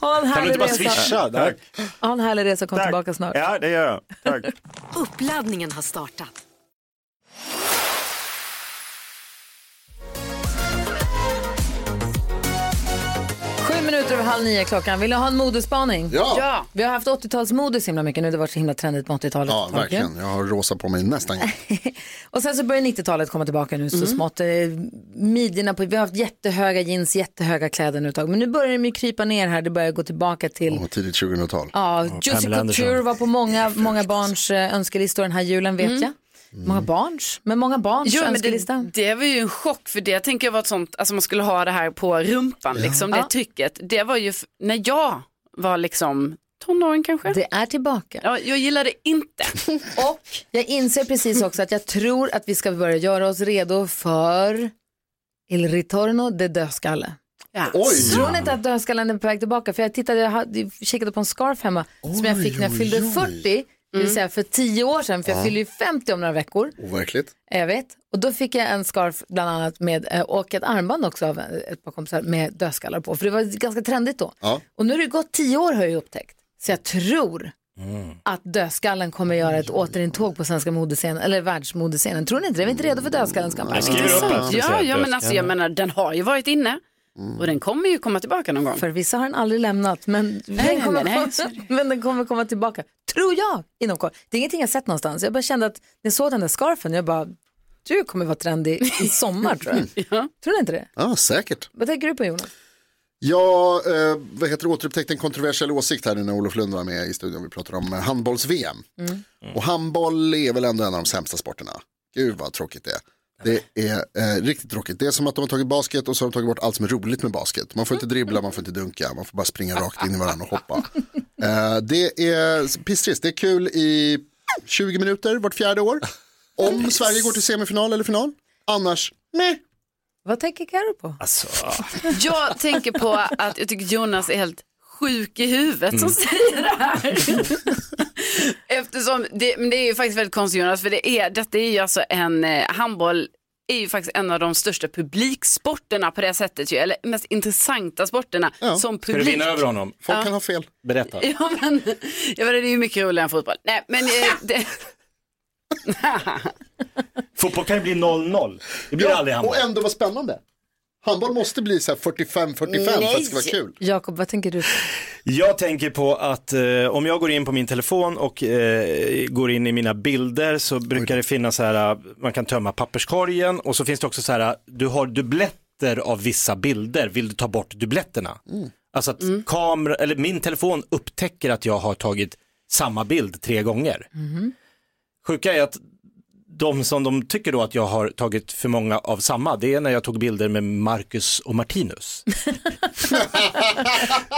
[SPEAKER 1] Ha en
[SPEAKER 8] Kan du
[SPEAKER 1] härlig
[SPEAKER 8] inte bara
[SPEAKER 1] resa.
[SPEAKER 8] swisha? Tack.
[SPEAKER 1] Ha en härlig resa och kom tillbaka snart.
[SPEAKER 8] Ja, det gör jag. Tack.
[SPEAKER 7] Uppladdningen har startat.
[SPEAKER 1] Sju minuter över halv nio klockan. Vill du ha en modespaning?
[SPEAKER 2] Ja. Ja.
[SPEAKER 1] Vi har haft 80-talsmode så himla mycket nu. Det har varit så himla trendigt på 80-talet.
[SPEAKER 2] Ja, verkligen. Jag har rosa på mig nästan.
[SPEAKER 1] Och sen så börjar 90-talet komma tillbaka nu så
[SPEAKER 2] Mm.
[SPEAKER 1] smått. Eh, Midjorna på, vi har haft jättehöga jeans, jättehöga kläder nu ett tag. Men nu börjar de ju krypa ner här. Det börjar gå tillbaka till
[SPEAKER 2] Och tidigt 2000-tal.
[SPEAKER 1] Ja, Juicy
[SPEAKER 2] Mm. Pamela Anderson.
[SPEAKER 1] Couture var på många, många barns eh, önskelistor den här julen vet
[SPEAKER 2] Mm.
[SPEAKER 1] jag. Många barns, men många barns
[SPEAKER 4] Jo, men
[SPEAKER 1] önskelista.
[SPEAKER 4] det, det var ju en chock för det tänker jag var ett sånt, alltså man skulle ha det här på rumpan liksom, det
[SPEAKER 1] Ja.
[SPEAKER 4] trycket. Det var ju f- när jag var liksom tonåring kanske.
[SPEAKER 1] Det är tillbaka.
[SPEAKER 4] Ja, jag gillar det
[SPEAKER 1] [laughs]
[SPEAKER 4] inte.
[SPEAKER 1] Och jag inser precis också att jag tror att vi ska börja göra oss redo för Il Ritorno de Dödskalle.
[SPEAKER 12] Oj.
[SPEAKER 1] Tror ni inte att dödskallen är på väg tillbaka? För jag tittade, jag hade, kikade på en scarf hemma som jag fick när jag
[SPEAKER 2] oj,
[SPEAKER 1] fyllde
[SPEAKER 2] oj.
[SPEAKER 1] 40, det vill säga för 10 år sedan, för jag
[SPEAKER 2] Ja.
[SPEAKER 1] fyller ju 50 om några veckor.
[SPEAKER 2] Overkligt.
[SPEAKER 1] Jag vet. Och då fick jag en scarf bland annat med, eh, och ett armband också av eh, ett par kompisar med dödskallar på. För det var ganska trendigt då.
[SPEAKER 2] Ja.
[SPEAKER 1] Och nu har det gått tio år har jag ju upptäckt. Så jag tror
[SPEAKER 4] Mm.
[SPEAKER 1] att dödskallen kommer göra ett återintåg på svenska modescenen, eller världsmodescenen. Tror ni inte det? Är vi inte redo för dödskallens gamla?
[SPEAKER 4] Jag skriver upp här, så vi ser
[SPEAKER 1] Ja,
[SPEAKER 4] att Ja, men alltså, jag menar, den har ju varit inne och den kommer ju komma tillbaka någon gång.
[SPEAKER 1] För vissa har den aldrig lämnat, men, den,
[SPEAKER 4] nej,
[SPEAKER 1] kommer
[SPEAKER 4] nej, så
[SPEAKER 1] komma, men den kommer komma tillbaka, tror jag, inom kort. Det är ingenting jag sett någonstans. Jag bara kände att när jag såg den där scarfen, jag bara, du kommer vara trendig i sommar tror
[SPEAKER 4] [laughs]
[SPEAKER 1] jag. Tror ni inte det?
[SPEAKER 2] Ja, säkert.
[SPEAKER 1] Vad tänker du på Jonas?
[SPEAKER 2] Jag eh, vad heter, det, återupptäckte en kontroversiell åsikt här nu när Olof Lund var med i studion. Vi pratade om eh, handbolls-VM. Och handboll är väl ändå en av de sämsta sporterna. Gud vad tråkigt det är. Det är eh, riktigt tråkigt. Det är som att de har tagit basket och så har de tagit bort allt som är roligt med basket. Man får inte dribbla, man får inte dunka, man får bara springa rakt in i varandra och hoppa. Eh, det är pisstrist, det är kul i 20 minuter vart fjärde år. Om Sverige går till semifinal eller final, annars nej.
[SPEAKER 1] Vad tänker Carro på?
[SPEAKER 4] Alltså- Jag tänker på att jag tycker Jonas är helt sjuk i huvudet som
[SPEAKER 2] Mm.
[SPEAKER 4] säger det här. [laughs] Eftersom det, men det är ju faktiskt väldigt konstigt Jonas, för det är, detta är ju alltså en eh, handboll är ju faktiskt en av de största publiksporterna på det sättet ju, eller mest intressanta sporterna som
[SPEAKER 5] Ska du
[SPEAKER 4] publik.
[SPEAKER 5] vinna över honom?
[SPEAKER 4] Folk Ja. kan ha
[SPEAKER 2] fel.
[SPEAKER 5] Berätta.
[SPEAKER 4] [laughs] Ja, men, jag vet, det är ju mycket roligare än fotboll. Nej, men eh, det,
[SPEAKER 5] Fotboll kan ju bli 0-0. Det blir aldrig handboll.
[SPEAKER 2] Och ändå vad spännande. Handboll måste bli så här 45-45 för att det ska vara kul.
[SPEAKER 1] Jakob, vad tänker du?
[SPEAKER 5] Jag tänker på att eh, om jag går in på min telefon och eh, går in i mina bilder så brukar det finnas så här, eh, man kan tömma papperskorgen och så finns det också så här, eh, du har dubbletter av vissa bilder, vill du ta bort dubbletterna? Alltså att kamera, eller min telefon upptäcker att jag har tagit samma bild tre gånger. Sjuka är att de som de tycker då att jag har tagit för många av samma, det är när jag tog bilder med Marcus och Martinus.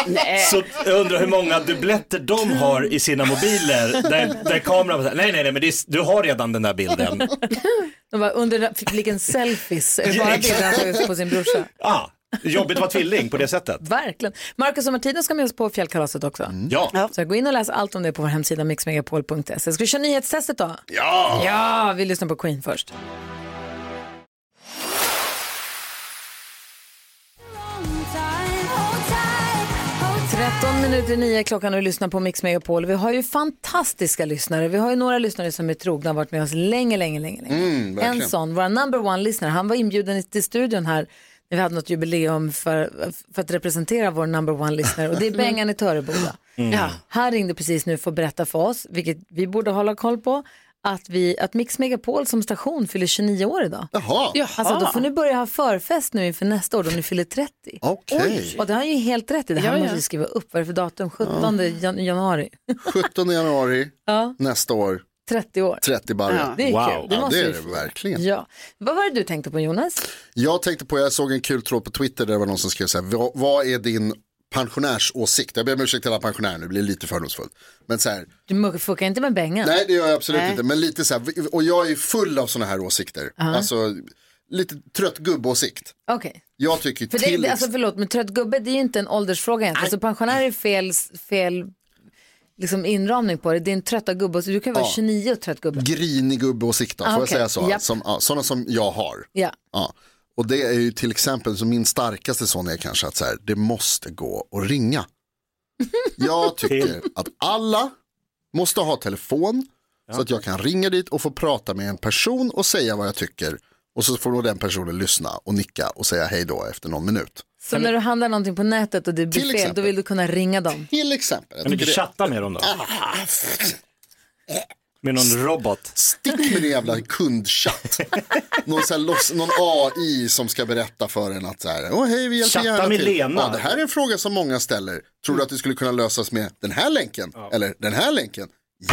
[SPEAKER 4] nej.
[SPEAKER 5] Så jag undrar hur många dubbletter de har i sina mobiler där, där kameran säger nej nej nej men det är, du har redan den där bilden.
[SPEAKER 1] De bara, under fliken selfies, är det
[SPEAKER 4] [laughs]
[SPEAKER 1] bara
[SPEAKER 5] Ja,
[SPEAKER 1] bilder han tagit på sin brorsa?
[SPEAKER 5] Ah, jobbigt att vara tvilling på det sättet.
[SPEAKER 1] Verkligen. Marcus och Martina ska med oss på fjällkalaset också.
[SPEAKER 5] Ja.
[SPEAKER 1] Så gå in och läs allt om det på vår hemsida mixmegapol.se. Ska vi köra nyhetstestet då?
[SPEAKER 2] Ja!
[SPEAKER 1] Ja, vi lyssnar på Queen först. Tretton minuter i nio klockan och du lyssnar på Mix Megapol. Vi har ju fantastiska lyssnare. Vi har ju några lyssnare som är trogna och har varit med oss länge, länge, länge. länge.
[SPEAKER 2] Mm, verkligen.
[SPEAKER 1] en sån, vår number one-lyssnare, han var inbjuden till studion här när vi hade något jubileum för, för att representera vår number one-lyssnare och det
[SPEAKER 2] [laughs]
[SPEAKER 1] är Bengan i Töreboda.
[SPEAKER 12] Mm. Ja.
[SPEAKER 1] Han ringde precis nu för att berätta för oss, vilket vi borde hålla koll på, att, vi, att Mix Megapol som station fyller 29 år idag.
[SPEAKER 2] Jaha. Jaha.
[SPEAKER 1] Alltså då får ni börja ha förfest nu inför nästa år då ni fyller 30.
[SPEAKER 2] Okej. [laughs]
[SPEAKER 1] Oj, Och det har han ju helt rätt i, det här
[SPEAKER 2] Ja, ja.
[SPEAKER 1] måste vi skriva upp. Vad är det för datum? 17 jan- januari, [laughs]
[SPEAKER 2] 17 januari
[SPEAKER 1] Ja.
[SPEAKER 2] nästa år,
[SPEAKER 1] 30 år.
[SPEAKER 2] 30 barre.
[SPEAKER 1] Ja, det är Wow. kul. Det
[SPEAKER 2] Ja,
[SPEAKER 1] måste
[SPEAKER 2] det är
[SPEAKER 1] vi
[SPEAKER 2] det
[SPEAKER 1] få.
[SPEAKER 2] verkligen.
[SPEAKER 1] Ja. Vad var det du tänkte på Jonas?
[SPEAKER 2] Jag tänkte på, jag såg en kul tråd på Twitter där det var någon som skrev så här, "Vad- vad är din pensionärsåsikt? Jag ber om ursäkt till alla pensionärer nu, det blir lite fördomsfullt. Men så här,
[SPEAKER 1] Du muck- fuckar inte med Bengan?
[SPEAKER 2] Nej, det gör jag absolut
[SPEAKER 1] Nej.
[SPEAKER 2] inte. Men lite så här, och jag är full av sådana här åsikter.
[SPEAKER 1] Ja.
[SPEAKER 2] Alltså, lite trött gubbåsikt.
[SPEAKER 1] Okej.
[SPEAKER 2] Jag tycker
[SPEAKER 1] För det,
[SPEAKER 2] till...
[SPEAKER 1] det, alltså förlåt, men trött gubbe det är ju inte en åldersfråga egentligen. Alltså pensionär är fel, fel liksom inramning på det. Det är en trötta gubbe, så du kan ju vara
[SPEAKER 2] Ja.
[SPEAKER 1] 29 och trött gubbe.
[SPEAKER 2] grinig gubbåsikt då,
[SPEAKER 1] Ah,
[SPEAKER 2] får jag
[SPEAKER 1] okej.
[SPEAKER 2] säga så?
[SPEAKER 1] Japp.
[SPEAKER 2] Som, ja, sådana som jag har.
[SPEAKER 1] Ja.
[SPEAKER 2] Ja. Och det är ju till exempel, så min starkaste sån är kanske att så här, det måste gå
[SPEAKER 1] [laughs]
[SPEAKER 2] att ringa. Jag tycker att alla måste ha telefon så att jag kan ringa dit och få prata med en person och säga vad jag tycker. Och så får då den personen lyssna och nicka och säga hej då efter någon minut.
[SPEAKER 1] Så när du handlar någonting på nätet och det blir
[SPEAKER 2] Till
[SPEAKER 1] fel, då
[SPEAKER 2] exempel.
[SPEAKER 1] vill du kunna ringa dem.
[SPEAKER 2] Till exempel. Ah,
[SPEAKER 5] Kan du inte chatta med dem då? Med någon robot?
[SPEAKER 2] Stick med din jävla kundchatt. någon, så här, loss- någon AI som ska berätta för en att så här, Åh, hej vi hjälper
[SPEAKER 5] Chatta
[SPEAKER 2] gärna
[SPEAKER 5] med
[SPEAKER 2] till.
[SPEAKER 5] Lena.
[SPEAKER 2] Ja, det här är en fråga som många ställer. Tror du att det skulle kunna lösas med den här länken? Eller den här länken?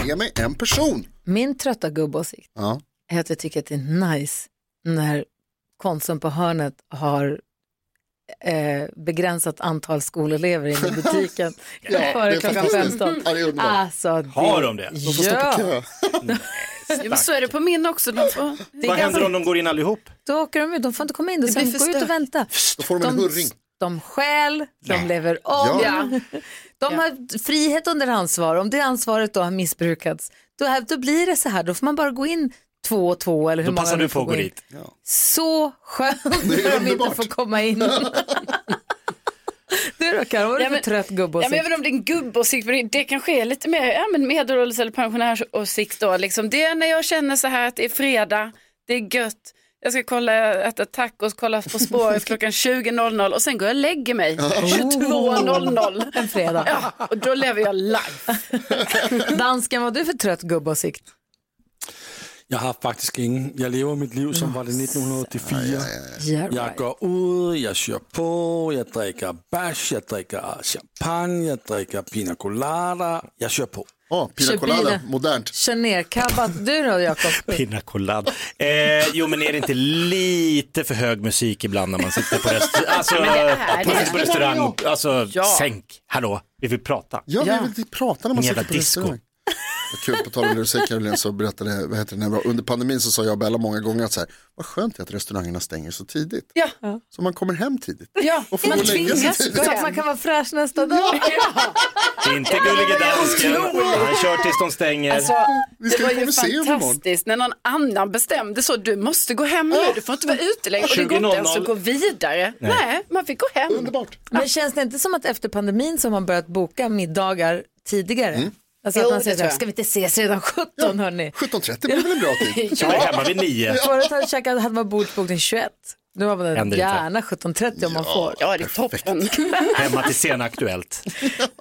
[SPEAKER 2] Ge mig en person.
[SPEAKER 1] Min trötta gubbåsikt
[SPEAKER 2] Ja.
[SPEAKER 1] är att jag tycker att det är nice när Konsum på hörnet har eh, begränsat antal skolelever inne i butiken
[SPEAKER 12] Ja, det
[SPEAKER 1] före
[SPEAKER 12] är
[SPEAKER 1] klockan
[SPEAKER 12] fantastiskt.
[SPEAKER 1] 15.
[SPEAKER 12] Ja, det är underbart.
[SPEAKER 1] Alltså,
[SPEAKER 5] Har de det?
[SPEAKER 1] De får stå på Ja. kö.
[SPEAKER 4] ja, men så är det på min också. De får, det är
[SPEAKER 5] Vad händer
[SPEAKER 4] ganska-
[SPEAKER 5] om de går in allihop?
[SPEAKER 1] Då åker de ut, de får inte komma in. Då
[SPEAKER 4] Det
[SPEAKER 1] ska de
[SPEAKER 4] blir
[SPEAKER 1] gå
[SPEAKER 4] för
[SPEAKER 1] ut och
[SPEAKER 4] stök.
[SPEAKER 1] vänta.
[SPEAKER 2] Då får de en hurring.
[SPEAKER 1] De stjäl, de
[SPEAKER 2] Nej.
[SPEAKER 1] lever om,
[SPEAKER 2] Ja.
[SPEAKER 1] de har frihet under ansvar. Om det ansvaret då har missbrukats, då, här, då blir det så här. Då får man bara gå in två och två eller hur
[SPEAKER 5] Då
[SPEAKER 1] många
[SPEAKER 5] passar
[SPEAKER 1] de
[SPEAKER 5] du
[SPEAKER 1] får
[SPEAKER 5] på att gå
[SPEAKER 1] in.
[SPEAKER 5] dit.
[SPEAKER 1] Så [laughs] skönt när de inte får komma in. [laughs] du då Karo, vad är det
[SPEAKER 4] Ja,
[SPEAKER 1] för
[SPEAKER 4] men-
[SPEAKER 1] trött gubbe
[SPEAKER 4] Ja, men jag vet inte om det är en gubbåsikt, men det- det kanske är lite mer ja, men medelålders eller pensionärsåsikt då. Liksom. Det är när jag känner så här att det är fredag, det är gött, jag ska kolla, äta tacos, kolla
[SPEAKER 2] [laughs]
[SPEAKER 4] På spåret klockan 20.00 och sen går jag och lägger mig
[SPEAKER 1] Oh.
[SPEAKER 4] 22.00.
[SPEAKER 1] En fredag.
[SPEAKER 4] Ja, och då lever jag life.
[SPEAKER 1] [laughs] Dansken, vad har du för trött gubbåsikt?
[SPEAKER 6] Jeg har faktisk ingen. Jeg lever mit liv, som var det 1984.
[SPEAKER 1] ja, ja.
[SPEAKER 6] Jeg går ud, jeg syr på, jeg drikker bash, jeg drikker champagne, jeg drikker pina colada. Jeg syr på.
[SPEAKER 2] Åh, oh,
[SPEAKER 1] Kör bilen. Kör ner kabbat. Du då Jakob?
[SPEAKER 5] [laughs] Pina colada. Eh, jo men är det inte lite för hög musik ibland när man sitter på, rest- alltså,
[SPEAKER 2] Men det är
[SPEAKER 5] på,
[SPEAKER 2] det.
[SPEAKER 5] på restaurang? Alltså
[SPEAKER 2] Ja.
[SPEAKER 5] sänk, hallå, vi vill prata.
[SPEAKER 2] Ja, vi vill prata när man
[SPEAKER 5] Jävla
[SPEAKER 2] sitter på
[SPEAKER 5] disco.
[SPEAKER 2] restaurang. Vad Kul, på tal om det du säger Caroline så berättade, vad heter det, när jag var- under pandemin så sa jag och Bella många gånger att så här, vad skönt det är att restaurangerna stänger så tidigt.
[SPEAKER 1] Ja.
[SPEAKER 2] Så man kommer hem tidigt.
[SPEAKER 1] Ja,
[SPEAKER 2] Och får
[SPEAKER 1] man
[SPEAKER 2] gå och lägga
[SPEAKER 5] [laughs]
[SPEAKER 2] sig
[SPEAKER 1] tvingas
[SPEAKER 2] tidigt.
[SPEAKER 1] gå hem. Så att man kan vara fräsch nästa dag.
[SPEAKER 5] Det är inte gullige dansken. Han kör tills de stänger.
[SPEAKER 4] Alltså, det var ju
[SPEAKER 2] se honom imorgon.
[SPEAKER 4] fantastiskt när någon annan bestämde så, du måste gå hem nu, du får inte vara ute längre. Och det går inte ens att
[SPEAKER 1] 20.00.
[SPEAKER 4] gå vidare.
[SPEAKER 1] Nej.
[SPEAKER 4] Nej, man fick gå hem.
[SPEAKER 2] Underbart.
[SPEAKER 1] Men känns det inte som att efter pandemin så har man börjat boka middagar tidigare?
[SPEAKER 2] Mm.
[SPEAKER 1] Alltså att
[SPEAKER 17] Jo,
[SPEAKER 1] man
[SPEAKER 17] det
[SPEAKER 1] säger så här,
[SPEAKER 17] tror jag.
[SPEAKER 1] ska vi inte ses redan 17 hörni?
[SPEAKER 2] 17.30 blir väl en bra tid?
[SPEAKER 1] [laughs] Ja.
[SPEAKER 5] Jag är hemma vid nio.
[SPEAKER 1] Förut hade, käkat, hade man bordsbokning 21. Nu har man
[SPEAKER 5] Händer inte.
[SPEAKER 1] gärna 17.30 om man får.
[SPEAKER 4] det är toppen.
[SPEAKER 5] Hemma till sen Aktuellt.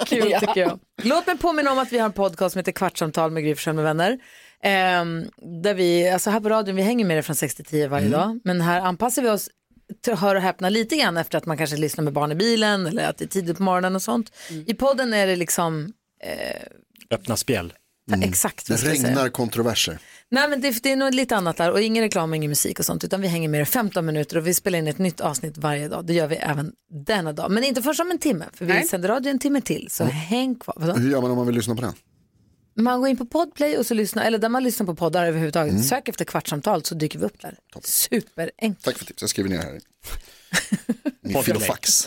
[SPEAKER 1] Kul tycker jag. Låt mig påminna om att vi har en podcast som heter Kvartsamtal med Gry Forssell med vänner. Ehm, där vi, alltså här på radion, vi hänger med er från 6 till 10 varje
[SPEAKER 17] Mm.
[SPEAKER 1] dag. Men här anpassar vi oss, till, hör och häpna, lite grann efter att man kanske lyssnar med barn i bilen eller att det är tidigt på morgonen och sånt.
[SPEAKER 2] Mm.
[SPEAKER 1] I podden är det liksom, eh,
[SPEAKER 5] Öppna spjäll.
[SPEAKER 1] exakt
[SPEAKER 2] Mm. Det
[SPEAKER 1] vad ska jag säga.
[SPEAKER 2] regnar kontroverser.
[SPEAKER 1] nej men det, det är nog lite annat där och ingen reklam och ingen musik och sånt utan vi hänger med er 15 minuter och vi spelar in ett nytt avsnitt varje dag. Det gör vi även denna dag. Men inte förrän om en timme, för vi
[SPEAKER 2] Nej.
[SPEAKER 1] sänder radio en timme till. Så häng kvar. Vadå?
[SPEAKER 2] Hur gör man om man vill lyssna på den?
[SPEAKER 1] Man går in på Podplay och så lyssnar, eller där man lyssnar på poddar överhuvudtaget. Sök efter kvartsamtal så dyker vi upp där. Superenkelt.
[SPEAKER 2] Tack för tipset, jag skriver
[SPEAKER 1] [laughs]
[SPEAKER 2] ner här. Min filofax.